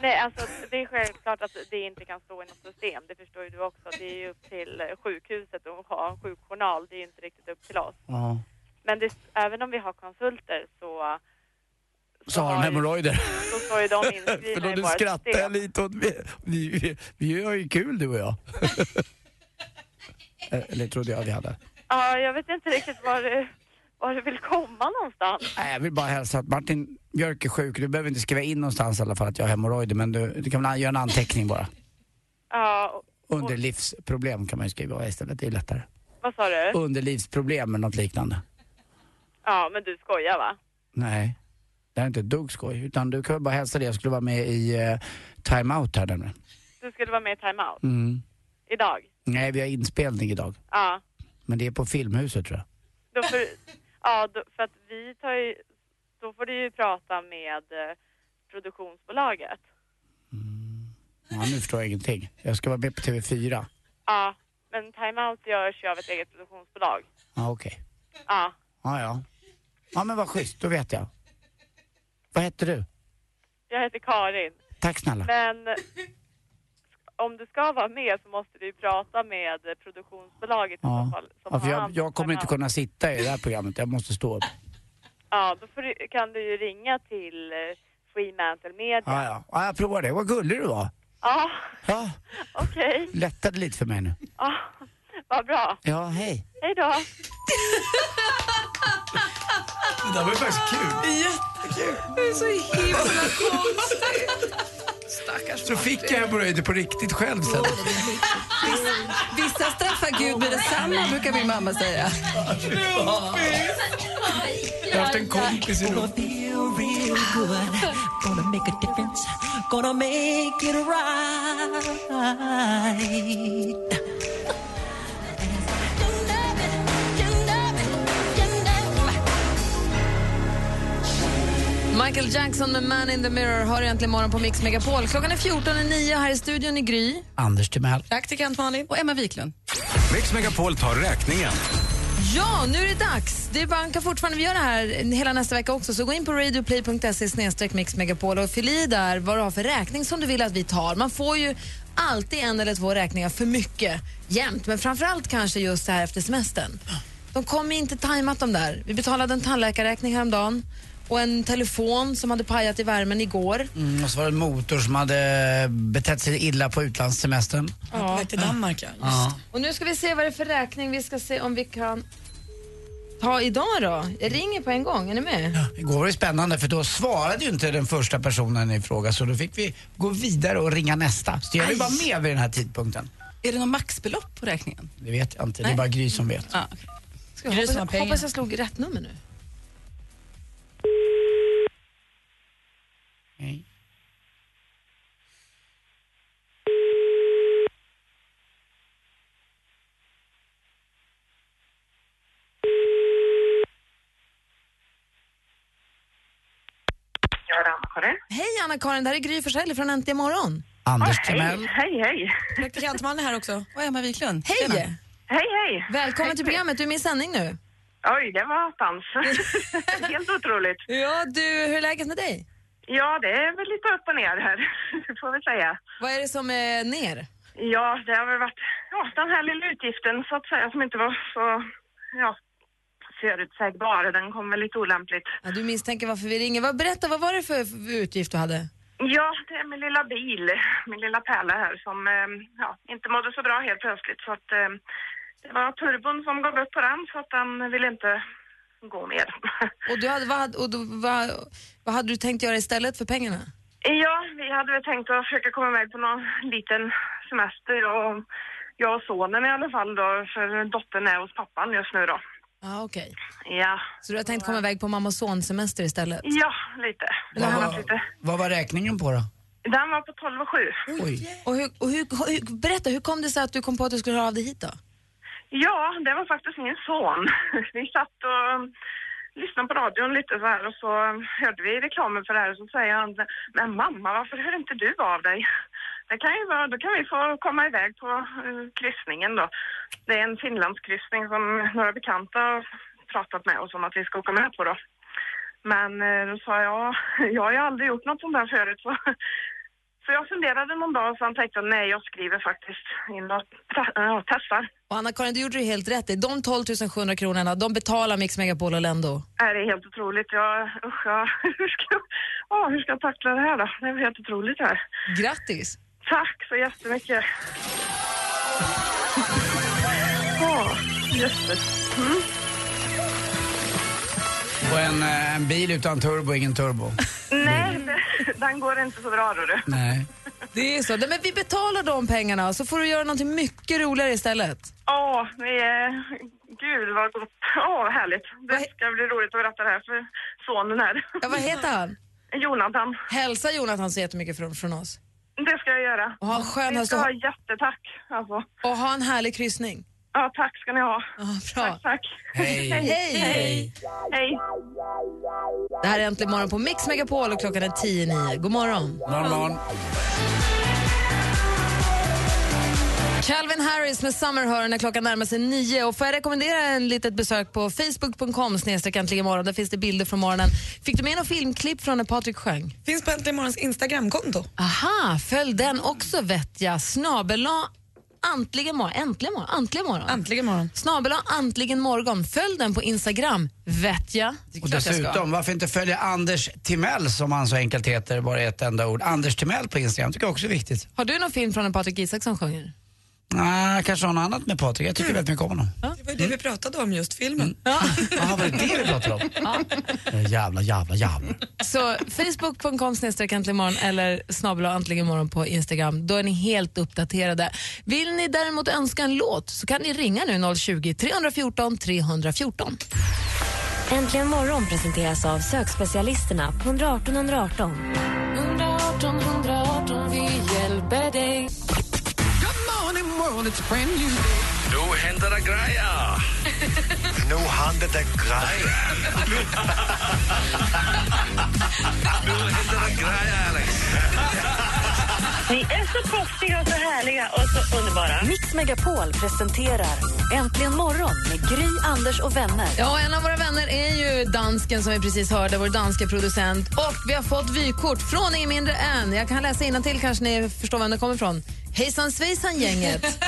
Speaker 20: Nej, alltså det är självklart att det inte kan stå i något system. Det förstår ju du också. Det är ju upp till sjukhuset att ha en sjukjournal. Det är ju inte riktigt upp till oss.
Speaker 7: Ja.
Speaker 20: Men det, även om vi har konsulter så,
Speaker 7: Så har de hemorrojder.
Speaker 20: så står ju de inskrivna
Speaker 7: Förlåt,
Speaker 20: i
Speaker 7: nu
Speaker 20: vårt
Speaker 7: skrattar jag
Speaker 20: system.
Speaker 7: lite åt vi, vi, vi har ju kul du och jag. Eller trodde jag vi hade.
Speaker 20: Ja, jag vet inte riktigt var du, var du vill komma någonstans.
Speaker 7: Nej, Jag vill bara hälsa att Martin Björk är sjuk. Du behöver inte skriva in någonstans i alla fall att jag har hemorrojder, men du, du kan väl göra en anteckning bara.
Speaker 20: Ja, och-
Speaker 7: Under livsproblem kan man ju skriva istället, det är lättare.
Speaker 20: vad sa du?
Speaker 7: Under livsproblem eller något liknande.
Speaker 20: Ja, men du skojar va?
Speaker 7: Nej, det här är inte ett dugg skoj. Utan du kan väl bara hälsa det. Jag skulle vara med i eh, time-out här nämligen.
Speaker 20: Du skulle vara med i timeout
Speaker 7: Mm.
Speaker 20: idag.
Speaker 7: Nej, vi har inspelning idag.
Speaker 20: Ja,
Speaker 7: Men det är på Filmhuset tror jag.
Speaker 20: då för, ja då, för att vi tar ju, då får du ju prata med eh, produktionsbolaget.
Speaker 7: Ja, nu förstår jag ingenting. Jag ska vara med på TV4.
Speaker 20: Ja, men timeout görs ju av ett eget produktionsbolag.
Speaker 7: Ja, okej.
Speaker 20: Ja,
Speaker 7: Ja, ja. Ja, men vad schysst. Då vet jag. Vad heter du?
Speaker 20: jag heter Karin.
Speaker 7: Tack snälla.
Speaker 20: Men om du ska vara med så måste du ju prata med eh, produktionsbolaget i så
Speaker 7: Ja.
Speaker 20: fall. Som
Speaker 7: ja för
Speaker 20: har
Speaker 7: jag,
Speaker 20: hand
Speaker 7: jag
Speaker 20: om
Speaker 7: kommer inte
Speaker 20: timeout.
Speaker 7: kunna sitta i det här programmet. Jag måste stå upp.
Speaker 20: Ja, då får du, kan du ju ringa till eh, Fremantle Media.
Speaker 7: Ja, ja. ja jag provar det. Vad gullig du var.
Speaker 20: Ja,
Speaker 7: Ja,
Speaker 20: okej.
Speaker 7: lättade lite för mig nu.
Speaker 20: Ja, vad bra.
Speaker 7: Ja, hej.
Speaker 20: Hej då.
Speaker 7: Det där var ju faktiskt kul.
Speaker 8: Jättekul. Det är så himla konstigt. Stackars
Speaker 7: Så fick jag hemorrojder på riktigt själv sen.
Speaker 5: Vissa straffar Gud med detsamma, brukar min mamma säga.
Speaker 7: Jag har haft en kompis i Rom.
Speaker 16: Gonna make a difference, gonna make it right.
Speaker 5: Michael Jackson med Man in the Mirror har egentligen morgon på Mix Megapol. Klockan är 14.09 här i studion i Gry.
Speaker 7: Anders Timell.
Speaker 5: Praktikant Malin. Och Emma Wiklund.
Speaker 15: Mix Megapol tar räkningen.
Speaker 5: Ja, nu är det dags. Det bankar fortfarande. Vi gör det här hela nästa vecka också. Så gå in på radioplay.se snedstreck mixmegapol och fyll i där vad du har för räkning som du vill att vi tar. Man får ju alltid en eller två räkningar för mycket jämt, men framförallt kanske just så här efter semestern. De kommer inte tajmat de där. Vi betalade en tandläkarräkning häromdagen och en telefon som hade pajat i värmen igår.
Speaker 7: Mm, och så var det en motor som hade betett sig illa på utlandssemestern.
Speaker 5: Ja, på väg till Danmark,
Speaker 8: ja.
Speaker 7: Ja.
Speaker 5: Och nu ska vi se vad det är för räkning vi ska se om vi kan ta idag då. Jag ringer på en gång, är ni med?
Speaker 7: Igår var det spännande för då svarade ju inte den första personen i fråga så då fick vi gå vidare och ringa nästa. Så jag vill
Speaker 8: Aj.
Speaker 7: bara med vid den här tidpunkten.
Speaker 8: Är det något maxbelopp på räkningen?
Speaker 7: Det vet jag inte, det
Speaker 8: Nej.
Speaker 7: är bara Gry som vet.
Speaker 8: Ja.
Speaker 5: Ska jag
Speaker 8: Gry som har
Speaker 5: hoppas,
Speaker 8: pengar.
Speaker 5: hoppas jag slog rätt nummer nu. Hej Anna-Karin, det här är Gry Forssell från Äntligen morgon.
Speaker 7: Anders Timell.
Speaker 20: Hej, hej.
Speaker 8: Praktikantmannen här också. Och Emma Wiklund.
Speaker 5: Hej!
Speaker 8: Tjena.
Speaker 20: Hej, hej.
Speaker 5: Välkommen till programmet, du är med i sändning nu.
Speaker 20: Oj, det var attans. Helt otroligt.
Speaker 5: Ja, du, hur är läget med dig?
Speaker 20: Ja, det är väl lite upp och ner här, får vi säga.
Speaker 5: Vad är det som är ner?
Speaker 20: Ja, det har väl varit ja, den här lilla utgiften så att säga som inte var så ja, förutsägbar. Den kom väl lite olämpligt.
Speaker 5: Ja, du misstänker varför vi ringer. Vad, berätta, vad var det för för utgift du hade?
Speaker 20: Ja, det är min lilla bil, min lilla pärla här som eh, ja, inte mådde så bra helt plötsligt. Så att, eh, det var turbon som gav upp på den så att den ville inte gå mer.
Speaker 5: Och, du hade, vad, hade- och då, vad, vad hade du tänkt göra istället för pengarna?
Speaker 20: Ja, vi hade väl tänkt att försöka komma iväg på någon liten semester och jag och sonen i alla fall då, för dottern är hos pappan just nu då.
Speaker 5: Ja, okej.
Speaker 20: Ja,
Speaker 5: Så du har tänkt komma iväg på mamma och son-semester istället?
Speaker 20: ja lite. Det
Speaker 7: Vad
Speaker 20: har varit
Speaker 7: var,
Speaker 20: lite.
Speaker 7: vad var räkningen på då?
Speaker 20: Den var på 12 och 7.
Speaker 7: Oj.
Speaker 5: Och hur, och hur, hur, berätta, hur kom det sig att du kom på att du skulle höra av dig hit då?
Speaker 20: Ja, det var faktiskt min son. Vi satt och um, lyssnade på radion lite så här och så um, hörde vi reklamen för det här och så säger han Men mamma, varför hör inte du av dig? Det kan ju vara, då kan vi få komma iväg på eh, kryssningen då. Det är en Finlandskryssning som några bekanta har pratat med oss om att vi ska åka med på då. Men eh, då sa jag, ja, jag har ju aldrig gjort något sånt där förut. Så, så jag funderade någon dag och sen tänkte jag, nej jag skriver faktiskt in och te- ja, testar.
Speaker 5: Och Anna-Karin, du gjorde ju helt rätt i. De 12 700 kronorna, de betalar Mix Megapol och Lendo.
Speaker 20: Nej, Äh, Det är helt otroligt. Jag, usch, jag, hur, ska, jag- ja, hur ska jag tackla det här då? Det är helt otroligt det här.
Speaker 5: Grattis!
Speaker 20: Tack så jättemycket. Ja, jösses. Mm.
Speaker 7: Och en, eh, en bil utan turbo, ingen turbo.
Speaker 20: Nej, det- den går inte så bra då du.
Speaker 7: Nej.
Speaker 5: Det är så. Nej, Men vi betalar de pengarna så får du göra något mycket roligare istället.
Speaker 20: Ja, det är... Gud vad gott. Ja, vad härligt. Det ska bli roligt att berätta det här för sonen här.
Speaker 5: Ja, vad heter han?
Speaker 20: Jonathan.
Speaker 5: Hälsa Jonathan så jättemycket från, från oss.
Speaker 20: Det ska jag göra.
Speaker 5: Och ha en skön
Speaker 20: Ni
Speaker 5: höst
Speaker 20: ska
Speaker 5: och
Speaker 20: ha
Speaker 5: ha,
Speaker 20: jättetack. Alltså.
Speaker 5: och ha en härlig kryssning.
Speaker 20: Ja, tack ska ni ha.
Speaker 5: bra.
Speaker 20: Tack, tack.
Speaker 5: Hej.
Speaker 20: Hej.
Speaker 5: Hej.
Speaker 20: Hej.
Speaker 5: Det här är Äntligen morgon på Mix Megapol och klockan är 10.09. God morgon.
Speaker 7: Morgon, morgon.
Speaker 5: Calvin Harris med Summer hör när klockan närmar sig nio. Och får jag rekommendera en litet besök på facebook.com snedstreck äntligen morgon. Där finns det bilder från morgonen. Fick du med några filmklipp från när Patrik sjöng?
Speaker 2: Finns på Äntligen Morgons Instagramkonto.
Speaker 5: Aha, följ den också vet jag. Snabela Antligen morgon. Äntligen morgon. Antligen morgon.
Speaker 2: Äntligen morgon.
Speaker 5: Snabela Antligen morgon. Följ den på Instagram, vet jag. Det är
Speaker 7: Och
Speaker 5: klart jag ska.
Speaker 7: dessutom, varför inte följa Anders Timell som han så enkelt heter, bara i ett enda ord. Anders Timell på Instagram tycker jag också är viktigt.
Speaker 5: Har du någon film från när Patrik Isaksson sjunger?
Speaker 7: Nej, kanske har något annat med Patrik. Jag tycker väldigt mycket om honom. Mm.
Speaker 2: Det var ju det vi pratade om, just filmen.
Speaker 7: Jaha, var det det vi pratade om? Jävla, jävla, jävla.
Speaker 5: Så facebook.com snedstreck äntligen morgon eller snabla äntligen morgon på Instagram. Då är ni helt uppdaterade. Vill ni däremot önska en låt så kan ni ringa nu 020-314 314.
Speaker 16: Äntligen morgon presenteras av sökspecialisterna på 118 118.
Speaker 17: 118 118, vi hjälper dig.
Speaker 1: Nu händer det grejer!
Speaker 21: Nu händer det grejer.
Speaker 1: Nu händer det grejer, Alex.
Speaker 18: Ni är så proffsiga och så härliga och så underbara.
Speaker 11: Mix Megapol presenterar Äntligen morgon med Gry, Anders och vänner.
Speaker 5: Ja, en av våra vänner är ju dansken som vi precis hörde, vår danska producent. Och vi har fått vykort från ingen mindre än, jag kan läsa till kanske ni förstår var det kommer ifrån. Hejsan svejsan gänget.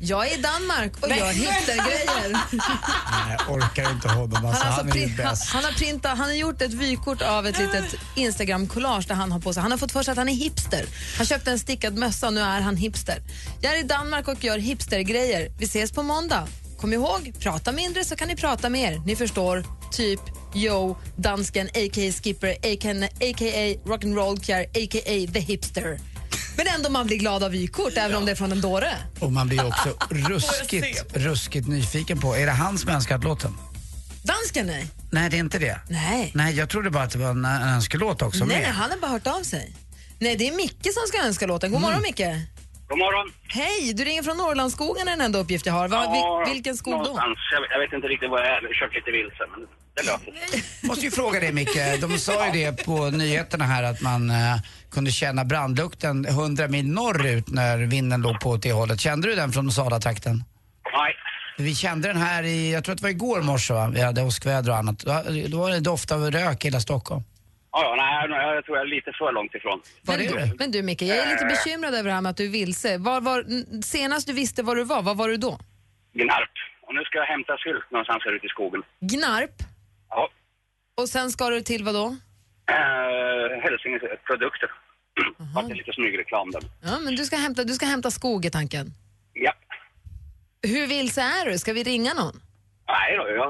Speaker 5: Jag är i Danmark och jag
Speaker 10: Nej.
Speaker 5: hittar grejer.
Speaker 7: Nej, jag orkar inte honom. Alltså,
Speaker 5: Han, har
Speaker 7: han är
Speaker 5: alltså
Speaker 7: ju
Speaker 5: pri- han,
Speaker 7: bäst.
Speaker 5: han, har printat, han har gjort ett vykort av ett litet Instagram-collage där han har på sig. Han har fått för sig att han är hipster. Han köpte en stickad mössa och nu är han hipster. Jag är i Danmark och gör hipstergrejer. Vi ses på måndag. Kom ihåg, prata mindre så kan ni prata mer. Ni förstår, typ Yo, dansken, a.k.a. Skipper, a.k.a. Rock'n'Roll Pierre, a.k.a. The Hipster. Men ändå man blir glad av vykort, även om det är från en dåre.
Speaker 7: Och man blir också ruskigt, ruskigt nyfiken på, är det han som önskat låten?
Speaker 5: Dansken, nej.
Speaker 7: Nej, det är inte det.
Speaker 5: Nej.
Speaker 7: Nej, jag trodde bara att det var en, en önskelåt också
Speaker 5: nej,
Speaker 7: med.
Speaker 5: nej, han har bara hört av sig. Nej, det är Micke som ska önska låten. God
Speaker 7: Mm.
Speaker 5: morgon, Micke.
Speaker 4: God morgon.
Speaker 5: Hej, du ringer från Norrlandsskogen är den enda uppgift jag har. Va, vil, vilken skog då?
Speaker 4: någonstans. Jag, jag vet inte riktigt vad jag är. Jag har kört lite vilse, men det löser sig.
Speaker 7: Måste ju fråga dig Micke, de sa ju det på nyheterna här att man eh, kunde känna brandlukten 100 mil norrut när vinden låg på åt det hållet. Kände du den från Salatrakten?
Speaker 4: Nej.
Speaker 7: Vi kände den här i, jag tror att det var igår morse va? Vi hade åskväder och annat. Då, då var det doft av rök i hela Stockholm.
Speaker 4: Ja, ja, nej, nej, jag tror jag är lite för långt ifrån.
Speaker 7: Var
Speaker 5: men,
Speaker 7: är
Speaker 5: du,
Speaker 7: det?
Speaker 5: men du Micke, jag är lite bekymrad över det här med att du är vilse. Var, var, n- senast du visste var du var, var var du då?
Speaker 4: Gnarp. Och nu ska jag hämta sylt någonstans här ute i skogen.
Speaker 5: Gnarp?
Speaker 4: Ja.
Speaker 5: Och sen ska du till vad då?
Speaker 4: Eh, Hälsinges produkter. Fast det är lite smygreklam där.
Speaker 5: Ja, men du ska hämta, du ska hämta skog i tanken.
Speaker 4: Ja.
Speaker 5: Hur vilse är du? Ska vi ringa någon?
Speaker 4: Nej då, jag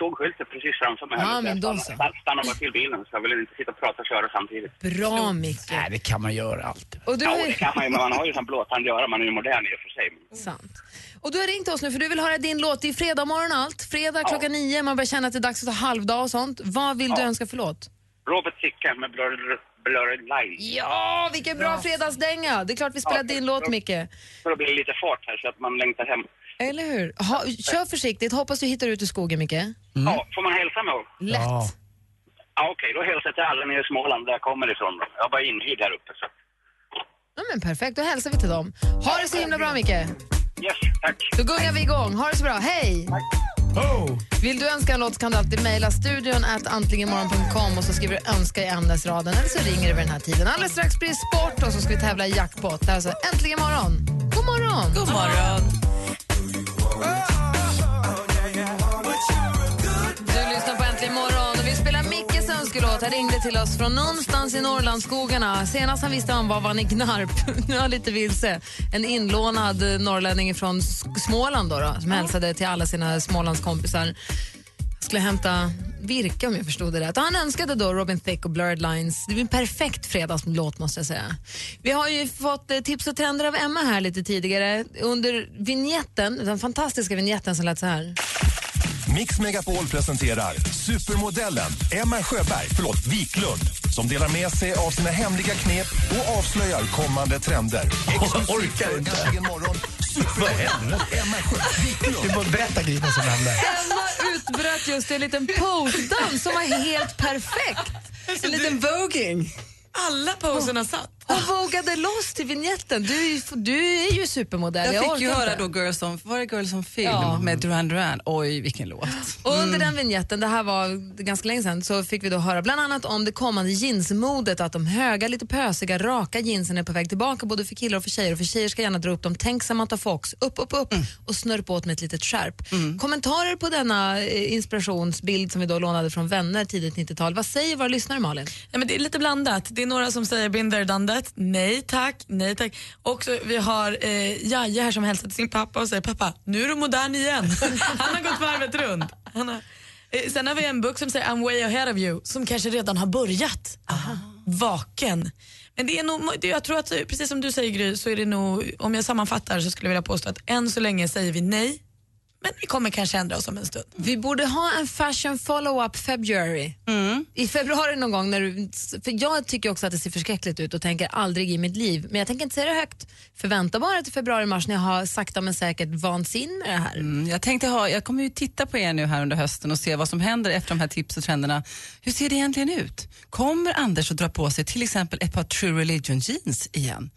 Speaker 4: såg skylten precis framför mig. här.
Speaker 5: Ja, men
Speaker 4: jag
Speaker 5: då
Speaker 4: stannar- stannar bara till bilen, så jag vill inte sitta och prata och köra samtidigt.
Speaker 5: Bra Micke.
Speaker 7: Nej, det kan man göra alltid.
Speaker 5: Och du,
Speaker 4: Ja,
Speaker 5: har,
Speaker 4: det kan man ju, men man har ju sån blåtand göra. Man är ju modern i och för sig.
Speaker 5: sant. och du har ringt oss nu för du vill höra din låt. Det är fredag morgon och allt. Fredag klockan nio, man börjar känna att det är dags att ta halvdag och sånt. Vad vill du
Speaker 4: Ja.
Speaker 5: önska för låt?
Speaker 4: Robert Sicka med Blurred, blurred Line.
Speaker 5: Ja, vilken bra fredagsdänga! Det är klart vi spelar din låt, Micke.
Speaker 4: För att bli lite fart här så att man längtar
Speaker 5: Mm.
Speaker 4: hem.
Speaker 5: Eller hur? Ha, kör försiktigt. Hoppas du hittar ut ur skogen, Micke.
Speaker 4: Ja, får man hälsa med?
Speaker 5: Lätt. Ja.
Speaker 4: Ja, okej, då hälsar jag till alla nere i Småland där jag kommer ifrån. då. Jag var inhyrd här uppe. Så.
Speaker 5: men perfekt, då hälsar vi till dem. Ha det så himla bra, Micke.
Speaker 4: Yes, tack.
Speaker 5: Då gungar vi igång. Ha det så bra. Hej!
Speaker 7: Oh!
Speaker 5: Vill du önska en låt så kan du alltid mejla studion at antligenmorgon.com och så skriver du önska i ämnesraden eller så ringer du vid den här tiden. Alldeles strax blir det sport och så ska vi tävla i jackpot. Det här är Alltså, äntligen morgon! God morgon! God morgon! Du lyssnar på Äntligen morgon och vi spelar Mickes önskelåt. Han ringde till oss från någonstans i Norrlandsskogarna. Senast han visste han var var han i Gnarp. Nu är han lite vilse. En inlånad eh, norrlänning från Sk- Småland då, då, som hälsade till alla sina Smålandskompisar. Han skulle hämta virke om jag förstod det rätt. Och han önskade då Robin Thicke och Blurred Lines. Det blir en perfekt fredagslåt måste jag säga. Vi har ju fått eh, tips och trender av Emma här lite tidigare. Under vignetten, den fantastiska vignetten som lät så här.
Speaker 22: Mix Megapol presenterar supermodellen Emma Sjöberg, förlåt, Wiklund som delar med sig av sina hemliga knep och avslöjar kommande trender.
Speaker 7: Jag orkar inte. Vad hände? Du får berätta Gry vad som hände.
Speaker 5: Emma utbröt just en liten postdans som var helt perfekt.
Speaker 8: Alltså,
Speaker 5: En liten voging. Alla poserna satt. Hon vågade loss till vignetten. Du, är ju- du är ju supermodell.
Speaker 8: Jag fick
Speaker 5: orkar
Speaker 8: ju höra
Speaker 5: inte.
Speaker 8: då Girls on, var det Girls on Film
Speaker 5: Ja.
Speaker 8: med Duran Duran. Oj, vilken låt.
Speaker 5: Och
Speaker 8: Mm.
Speaker 5: under den vignetten, det här var ganska länge sedan, så fick vi då höra bland annat om det kommande jeansmodet, att de höga, lite pösiga, raka jeansen är på väg tillbaka både för killar och för tjejer. Och för tjejer ska gärna dra upp dem, tänk Samantha Fox, upp, upp, upp och snörp åt med ett litet skärp. Kommentarer på denna eh, inspirationsbild som vi då lånade från vänner tidigt 90-tal. Vad säger våra lyssnare Malin?
Speaker 2: Nej, men det är lite blandat. Det är några som säger binder dandet. Nej tack, nej tack. Och så, vi har eh, Jaja här som hälsar till sin pappa och säger pappa, nu är du modern igen. Han har gått varvet runt. Han har, eh, sen har vi en bok som säger I'm way ahead of you som kanske redan har börjat. Vaken. Men det är nog, det- jag tror att eh, precis som du säger Gry så är det nog, om jag sammanfattar så skulle jag vilja påstå att än så länge säger vi nej. Men vi kommer kanske ändra oss om en stund.
Speaker 5: Vi borde ha en fashion follow-up February.
Speaker 7: Mm.
Speaker 5: I februari någon gång. När du, för jag tycker också att det ser förskräckligt ut och tänker aldrig i mitt liv. Men jag tänker inte säga det högt. Förvänta bara till februari-mars när jag har sakta men säkert vansin med det här.
Speaker 8: Mm, jag tänkte ha, jag kommer ju titta på er nu här under hösten och se vad som händer efter de här tips och trenderna. Hur ser det egentligen ut? Kommer Anders att dra på sig till exempel ett par True Religion jeans igen?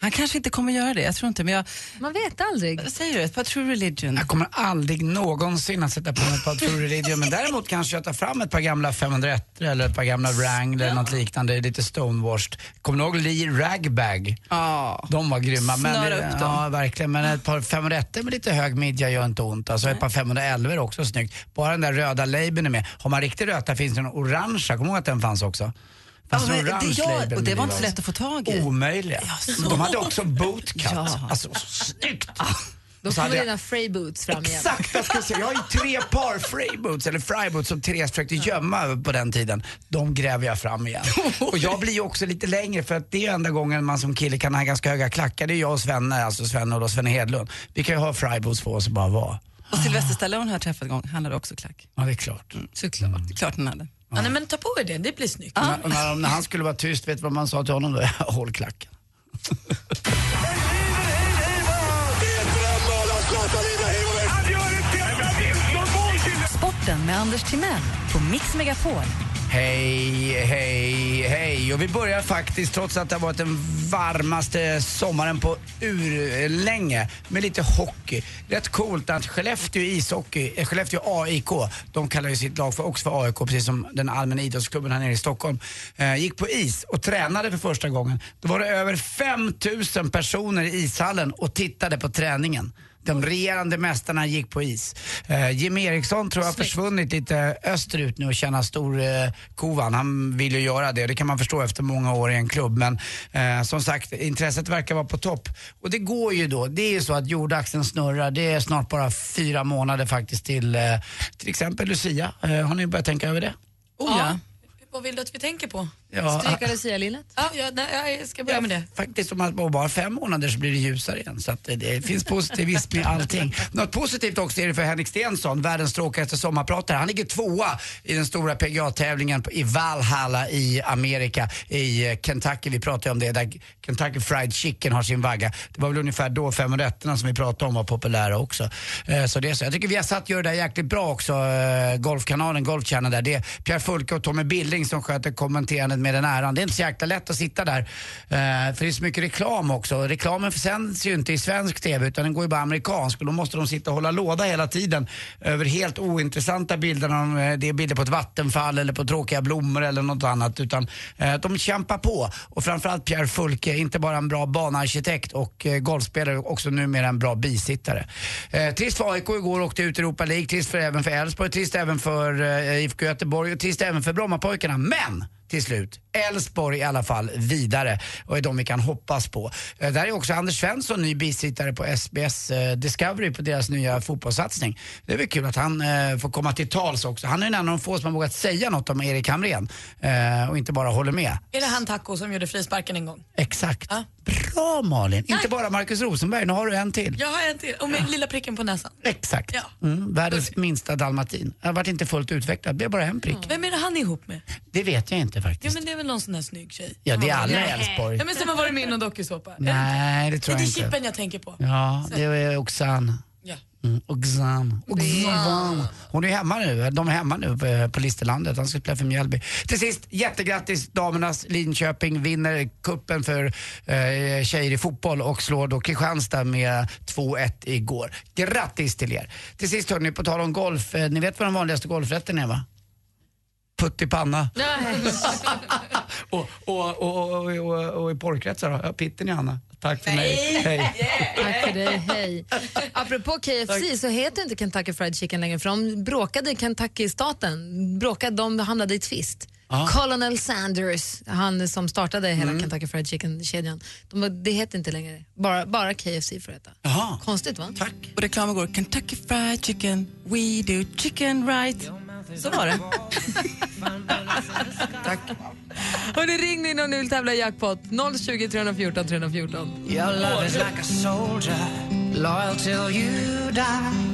Speaker 8: Han kanske inte kommer göra det, jag tror inte, men jag...
Speaker 5: Man vet aldrig.
Speaker 8: Vad säger du? Ett par True Religion?
Speaker 7: Jag kommer aldrig någonsin att sätta på mig ett par True Religion men däremot kanske jag tar fram ett par gamla 501 eller ett par gamla Wrangler eller något liknande, lite stonewashed. Kommer ni ihåg Lee Ragbag?
Speaker 8: Ja.
Speaker 7: De var grymma.
Speaker 8: Snöra upp dem.
Speaker 7: Ja, verkligen. Men ett par 501 med lite hög midja gör inte ont. Alltså ett par 511 är också snyggt. Bara den där röda labeln är med. Har man riktigt röta finns det en orangea, kommer du ihåg att den fanns också? Fanns
Speaker 8: Ja,
Speaker 7: en
Speaker 8: men
Speaker 7: orange
Speaker 8: det- ja,
Speaker 7: label
Speaker 8: och det
Speaker 7: med
Speaker 8: var inte så
Speaker 7: också.
Speaker 8: lätt att få tag i.
Speaker 7: Omöjliga.
Speaker 8: så.
Speaker 7: De hade också bootcut.
Speaker 8: Ja.
Speaker 7: Alltså, så snyggt!
Speaker 5: Ah, Då
Speaker 7: Och så
Speaker 5: kommer
Speaker 7: hade jag-
Speaker 5: dina Frey boots fram igen.
Speaker 7: Exakt vad jag skulle säga. Jag har ju tre par freeboots, eller fryboots som Therese försökte gömma på den tiden. De gräver jag fram igen. Och jag blir ju också lite längre för att det är ju enda gången man som kille kan ha ganska höga klackar. Det är jag och Svenne, alltså Svenne och då Svenne Hedlund. Vi kan ju ha fryboots på oss och bara vara.
Speaker 8: Och Sylvester Stallone har jag träffat en gång, han hade också klack. Mm,
Speaker 7: Ja, det är klart. Mm.
Speaker 8: Såklart. Det är klart han hade.
Speaker 2: Ja, nej, men ta på er det, det blir snyggt.
Speaker 7: Och När, när, när han skulle vara tyst, vet du vad man sa till honom då? Håll klacken.
Speaker 11: Sporten med Anders Timell på Mix Megapol.
Speaker 7: Hej, hej, hej. Och vi börjar faktiskt, trots att det har varit den varmaste sommaren på urlänge, med lite hockey. Rätt coolt att Skellefteå ishockey, eh, Skellefteå AIK, de kallar ju sitt lag för, också för AIK, precis som den allmänna idrottsklubben här nere i Stockholm, eh, gick på is och tränade för första gången. Då var det över 5000 personer i ishallen och tittade på träningen. De regerande mästarna gick på is. Eh, Jim Eriksson tror jag har försvunnit lite österut nu och tjänar stor eh, kovan. Han vill ju göra det, det kan man förstå efter många år i en klubb. Men eh, som sagt, intresset verkar vara på topp. Och det går ju då. Det är ju så att jordaxeln snurrar. Det är snart bara fyra månader faktiskt till eh, till exempel Lucia. Eh, har ni börjat tänka över det?
Speaker 2: Oh, ja. Vad vill du att vi tänker på?
Speaker 7: Ja. Stryka
Speaker 5: lucialinnet?
Speaker 2: Ja, ja, nej, jag ska börja med det.
Speaker 7: eh, Faktiskt om man bara fem månader så blir det ljusare igen. Så att det, det finns positivism i allting. Något positivt också är det för Henrik Stenson, världens tråkigaste sommarpratare. Han ligger tvåa i den stora PGA-tävlingen på- i Valhalla i Amerika, i eh, Kentucky. Vi pratade om det, där Kentucky Fried Chicken har sin vagga. Det var väl ungefär då fem rätterna som vi pratade om var populära också. Eh, Så det är så. Jag tycker vi har satt gör det där jäkligt bra också, eh, Golfkanalen, Golf Channel där. Det är Pierre Fulke och Tommy Billing som sköter kommenterandet med den äran. Det är inte så jäkla lätt att sitta där. Eh, för det är så mycket reklam också. Reklamen sänds ju inte i svensk TV utan den går ju bara amerikansk. Och då måste de sitta och hålla låda hela tiden över helt ointressanta bilder. när de, eh, Det är bilder på ett vattenfall eller på tråkiga blommor eller något annat. Utan eh, de kämpar på. Och framförallt Pierre Fulke, inte bara en bra banarkitekt och eh, golfspelare, också numera en bra bisittare. Eh, trist för AIK igår åkte ut i Europa League, trist för även för Elfsborg, trist även för eh, IFK Göteborg och trist även för Brommapojkarna. Men till slut, Elfsborg i alla fall vidare och är de vi kan hoppas på. Eh, där är också Anders Svensson ny bisittare på SBS eh, Discovery på deras nya fotbollssatsning. Det är väl kul att han eh, får komma till tals också. Han är en av de få som har vågat säga något om Erik Hamrén eh, och inte bara håller med.
Speaker 2: Är det han Taco som gjorde frisparken en gång?
Speaker 7: Exakt. Bra Malin! Inte bara Markus Rosenberg, nu har du en till.
Speaker 2: Jag har en till, och med lilla pricken på näsan.
Speaker 7: Exakt. Mm, världens minsta dalmatin. Han vart inte fullt utvecklad, blev bara en prick.
Speaker 2: Vem är det han är ihop med?
Speaker 7: Det vet jag inte faktiskt.
Speaker 2: Ja, men det är väl någon sån där snygg tjej?
Speaker 7: Ja, det
Speaker 2: Som
Speaker 7: är
Speaker 2: har
Speaker 7: alla i
Speaker 2: varit-
Speaker 7: Älvsborg.
Speaker 2: Ja, men som har varit med i någon dokusåpa. Är
Speaker 7: Nej, det tror
Speaker 2: det
Speaker 7: jag
Speaker 2: är
Speaker 7: inte.
Speaker 2: Chippen jag tänker på.
Speaker 7: Ja, det är Oxan.
Speaker 2: Ja.
Speaker 7: Mm, Oxan. Oxan. Hon är hemma nu. De är hemma nu eh, på- på Listerlandet. Han ska spela för Mjällby. Till sist, jättegrattis damernas. Linköping vinner kuppen för eh, tjejer i fotboll och slår då Kristianstad med 2-1 igår. Grattis till er. Till sist hörni, på tal om golf. Eh, ni vet vad den vanligaste golfrätten är va? Putt i panna. och, och, och, och, och, och i porrkretsar då? Ja, Pitten i Anna. Tack för mig. Hej.
Speaker 5: Tack för dig, hej. Apropå KFC
Speaker 7: Tack.
Speaker 5: så heter inte Kentucky Fried Chicken längre för de bråkade Kentucky-staten, bråkade, de hamnade i tvist.
Speaker 7: Ah.
Speaker 6: Ja.
Speaker 5: Colonel Sanders, han som startade hela
Speaker 7: Mm.
Speaker 5: Kentucky Fried Chicken-kedjan, de, bara, det heter inte längre bara, bara KFC får heta.
Speaker 7: Jaha.
Speaker 5: Konstigt va?
Speaker 7: Tack.
Speaker 8: Och reklamen går Kentucky Fried Chicken, we do chicken right. Så var det.
Speaker 5: Hörni, ring in om ni vill tävla i jackpot. 020 314 314.
Speaker 23: Your love is like a soldier, loyal till you die.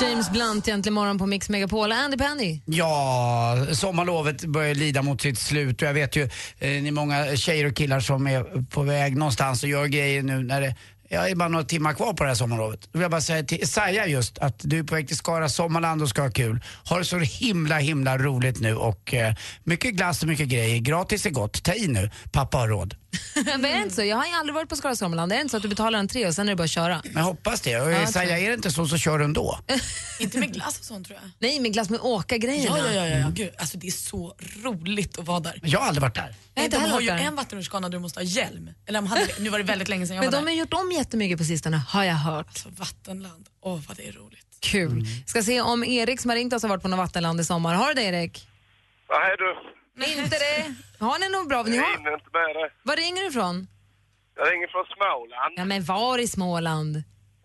Speaker 5: James Blunt egentligen morgon på Mix Megapol. Andy Penny.
Speaker 7: Ja, sommarlovet börjar lida mot sitt slut och jag vet ju eh, ni är många tjejer och killar som är på väg någonstans och gör grejer nu när det Ja, det är bara några timmar kvar på det här sommarlovet. Då vill jag bara säga till Saja just att du är på väg till Skara Sommarland och ska ha kul. Har det så himla, himla roligt nu och eh, mycket glass och mycket grejer. Gratis är gott. Ta i nu. Pappa har råd.
Speaker 5: Men är det inte så? Jag har ju aldrig varit på Skara Sommarland. Är det inte så att du betalar entré och sen är det bara att köra?
Speaker 7: Men jag hoppas det.
Speaker 5: Ja,
Speaker 7: Och eh,
Speaker 5: jag
Speaker 7: Saja,
Speaker 5: tror-
Speaker 7: är det inte så så kör du ändå.
Speaker 2: Inte med glass och sånt tror jag.
Speaker 5: Nej, men glass med åka-grejerna.
Speaker 2: Ja, ja, ja, ja.
Speaker 7: Mm.
Speaker 2: ja. Gud, alltså det är så roligt att vara där.
Speaker 7: Jag har aldrig varit där.
Speaker 2: Nej,
Speaker 5: inte
Speaker 2: de
Speaker 5: heller
Speaker 2: har ju
Speaker 5: varit där.
Speaker 2: en vattenrutschkana där du måste ha hjälm. Eller de hade, det. nu var det väldigt länge sedan jag
Speaker 5: Men
Speaker 2: var Alltså,
Speaker 5: de har gjort om jättemycket på sistone, har jag hört.
Speaker 2: där. Vattenland, åh vad det är roligt.
Speaker 5: Kul.
Speaker 2: Mm.
Speaker 5: Ska se om Erik som har ringt oss har varit på något vattenland i sommar. Har du det Erik?
Speaker 9: Ja, hej du.
Speaker 5: Inte det? Har ni något bra? Ni
Speaker 9: Jag
Speaker 5: har...
Speaker 9: hinner inte med det.
Speaker 5: Var ringer du ifrån?
Speaker 9: Jag ringer från Småland,
Speaker 5: Ja, men var i Småland?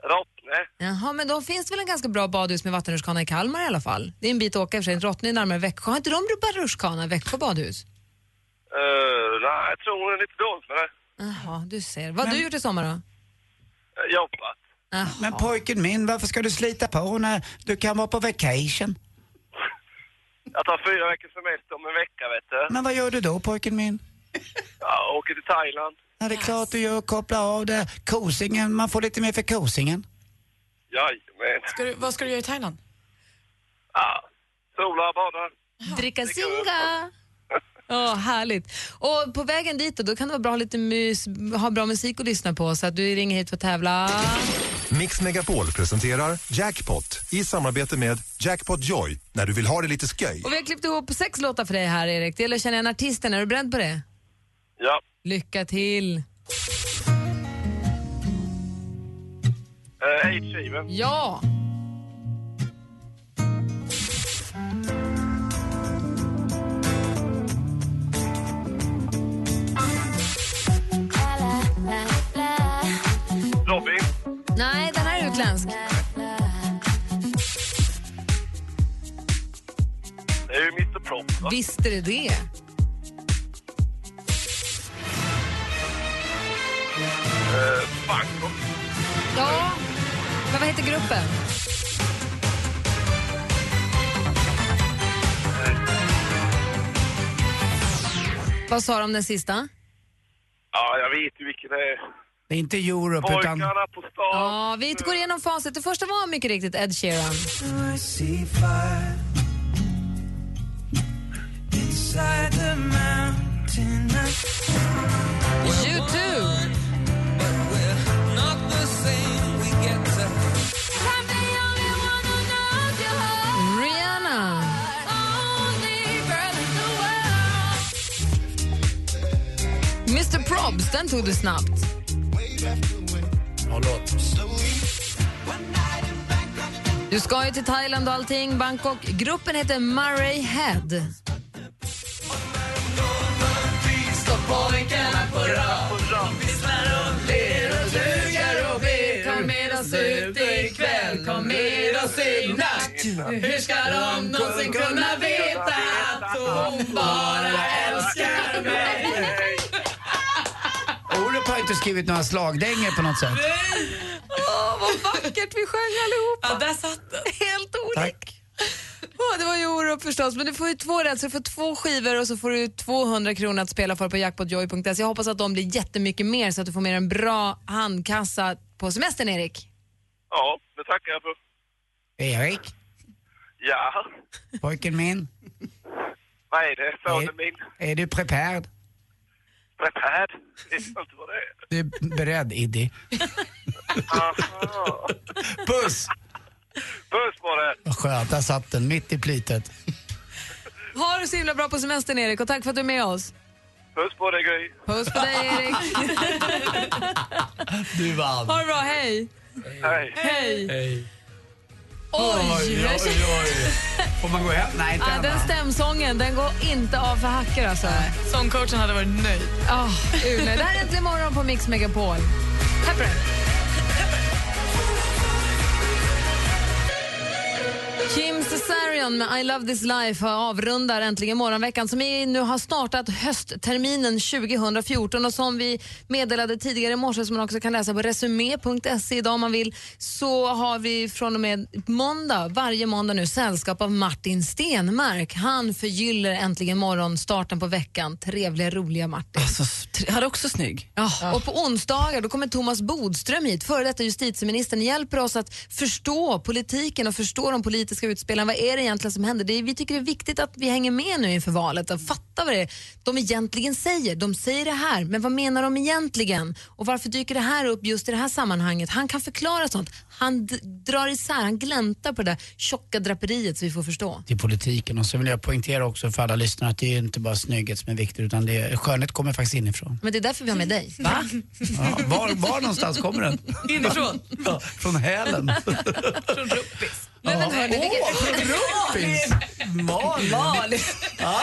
Speaker 9: Rottne.
Speaker 5: Jaha, men då finns det väl en ganska bra badhus med vattenrutschkana i Kalmar i alla fall? Det är en bit att åka i och för sig. Rottne är närmare Växjö. Har inte de bara rutschkana, Växjö badhus?
Speaker 9: Eh, nej, jag tror hon är lite dåligt med det.
Speaker 5: Jaha, du ser. Vad har du gjort i sommar då?
Speaker 9: Jag jobbar.
Speaker 7: Men pojken min, varför ska du slita på när du kan vara på vacation?
Speaker 9: Jag tar fyra veckors semester om en vecka, vet du.
Speaker 7: Men vad gör du då pojken min?
Speaker 9: Jag åker till Thailand.
Speaker 7: Ja, det är klart du gör. Koppla av det. Kosingen, man får lite mer för kosingen.
Speaker 9: Jajamän.
Speaker 2: Ska du, vad ska du göra i Thailand?
Speaker 9: Ja, solar och badar.
Speaker 5: Dricka singa! Åh, härligt. Och på vägen dit då, då kan det vara bra att ha lite mys, ha bra musik att lyssna på så att du ringer hit för att tävla.
Speaker 22: Mix Megapol presenterar Jackpot i samarbete med Jackpot Joy när du vill ha det lite sköj.
Speaker 5: Och vi har klippt ihop sex låtar för dig här Erik. Det gäller att känna igen artisten. Är du beredd på det?
Speaker 9: Ja.
Speaker 5: Lycka till!
Speaker 9: Eh, Age Sheeran.
Speaker 5: Ja!
Speaker 9: Robin.
Speaker 5: Nej, den här är utländsk.
Speaker 9: Det är ju Mr Prop, va?
Speaker 5: Visst är det det.
Speaker 9: Eh, Bangkok.
Speaker 5: Ja. Men vad heter gruppen? Vad sa de den sista?
Speaker 9: Ja, jag vet ju vilken det är.
Speaker 7: Det är inte Europe utan...
Speaker 24: Pojkarna på stan.
Speaker 5: Ja, vi går igenom facit. Det första var mycket riktigt Ed Sheeran.
Speaker 23: YouTube!
Speaker 5: Rihanna. Mr Probs, den tog du snabbt.
Speaker 7: Ja, låt.
Speaker 5: Du ska ju till Thailand och allting, Bangkok. Gruppen heter Murray Head.
Speaker 23: Pojkarna på rad, visslar och ler och dugar och ber. Kom med oss ut ikväll, kom med oss i natt. Hur ska de någonsin kunna veta att hon bara älskar mig?
Speaker 7: Orup har inte skrivit några slagdängor på något sätt.
Speaker 5: Åh, vad vackert vi sjöng allihopa. Ja, där satt den. Helt olik. Åh, det var ju Orup förstås, men du får ju två rätt, så du får två skivor och så får du 200 kronor att spela för på jackpotjoy.se. Jag hoppas att de blir jättemycket mer så att du får med dig en bra handkassa på semestern, Erik.
Speaker 24: Ja, det tackar jag för.
Speaker 7: Erik,
Speaker 24: Ja,
Speaker 7: pojken min,
Speaker 24: vad är det? Sonen min?
Speaker 7: är du prepared?
Speaker 24: Prepared? Det är inte vad det är.
Speaker 7: Du är beredd, Iddi?
Speaker 24: Aha.
Speaker 7: Puss!
Speaker 24: Puss på det.
Speaker 7: Vad skönt, där satt den mitt i plitet.
Speaker 5: Ha det så himla bra på semestern, Erik, och tack för att du är med oss.
Speaker 24: Puss på dig, Gry.
Speaker 5: Puss på dig, Erik.
Speaker 7: Du vann.
Speaker 5: Ha det bra, hej.
Speaker 24: Hej.
Speaker 5: Hej.
Speaker 7: Hej.
Speaker 5: Oj,
Speaker 7: oj, oj. Får man gå hem? Nej, inte
Speaker 5: Ja,
Speaker 7: än,
Speaker 5: Äh, den
Speaker 7: va?
Speaker 5: stämsången, den går inte av för hackor alltså.
Speaker 2: Sångcoachen hade varit nöjd.
Speaker 5: Oh, det här är Äntligen morgon på Mix Megapol. Här på den. Kim Cesarion med I love this life avrundar äntligen morgonveckan som i- nu har startat höstterminen 2014 och som vi meddelade tidigare i morse som man också kan läsa på resumé.se idag om man vill så har vi från och med måndag, varje måndag nu sällskap av Martin Stenmark. Han förgyller äntligen morgon starten på veckan. Trevliga, roliga Martin.
Speaker 8: Han är också snygg.
Speaker 5: Ja, och på onsdagar då kommer Thomas Bodström hit, före detta justitieministern, hjälper oss att förstå politiken och förstå de politiska utspelen. Vad är det egentligen som händer? Det är, vi tycker det är viktigt att vi hänger med nu inför valet och fattar vad det är de egentligen säger. De säger det här, men vad menar de egentligen? Och varför dyker det här upp just i det här sammanhanget? Han kan förklara sånt. Han d- drar isär, han gläntar på det där tjocka draperiet så vi får förstå.
Speaker 7: till politiken och så vill jag poängtera också för alla lyssnare att det är inte bara snygghet som är viktigt utan det är, skönhet kommer faktiskt inifrån.
Speaker 5: Men det är därför vi har med dig. Va?
Speaker 7: Ja, var, var någonstans kommer den?
Speaker 5: Inifrån.
Speaker 7: Ja, från hälen.
Speaker 5: Men, men hörni, vilket...
Speaker 7: Rumpis! Malin!
Speaker 5: Malin.
Speaker 7: Ja,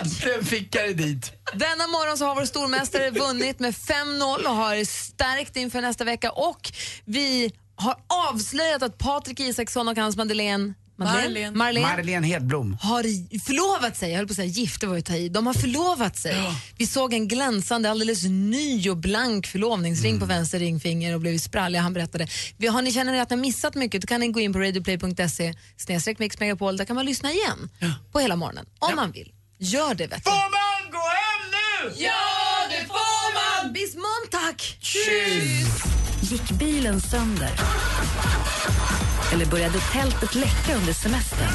Speaker 7: äntligen fick jag det dit.
Speaker 5: Denna morgon så har vår stormästare vunnit med 5-0 och har stärkt inför nästa vecka och vi har avslöjat att Patrik Isaksson och hans Madeleine Madeleine?
Speaker 7: Marlene. Marlene Hedblom.
Speaker 5: har i- förlovat sig, jag höll på att säga gift, det var ju att ta i. De har förlovat sig. Vi såg en glänsande, alldeles ny och blank förlovningsring
Speaker 23: Mm.
Speaker 5: på vänster ringfinger och blev spralliga, han berättade. Vi, har ni känner att ni har missat mycket, då kan ni gå in på radioplay.se snedstreck mix megapol, där kan man lyssna igen på hela morgonen, om man vill. Gör det vet
Speaker 23: Får
Speaker 5: du.
Speaker 23: man gå hem nu? Ja, det får man!
Speaker 5: Bis morgon, tack!
Speaker 11: Gick bilen sönder? Eller började tältet läcka under semestern?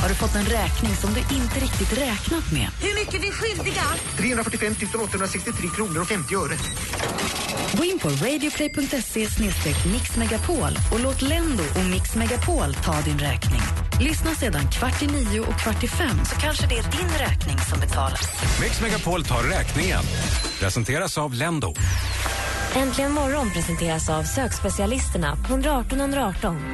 Speaker 11: Har du fått en räkning som du inte riktigt räknat med?
Speaker 23: Hur mycket är vi skyldiga?
Speaker 13: 345 863 kronor och 50 öre.
Speaker 11: Gå in på radioplay.se mixmegapol och låt Lendo och Mix Megapol ta din räkning. Lyssna sedan kvart i nio och kvart i fem så kanske det är din räkning som betalas.
Speaker 15: Mix Megapol tar räkningen. Presenteras av Lendo.
Speaker 16: Äntligen morgon presenteras av sökspecialisterna på 118 118.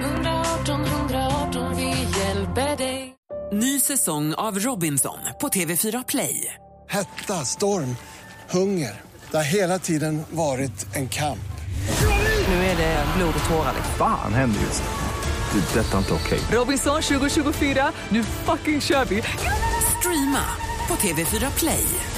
Speaker 17: 118 118, vi hjälper dig.
Speaker 6: Ny säsong av Robinson på TV4 Play.
Speaker 12: Hetta, storm, hunger. Det har hela tiden varit en kamp.
Speaker 6: Nu är det blod och tårar.
Speaker 25: Fan händer just nu. Det. är Detta är inte okej.
Speaker 6: Robinson 2024, nu fucking kör vi! Streama på TV4 Play.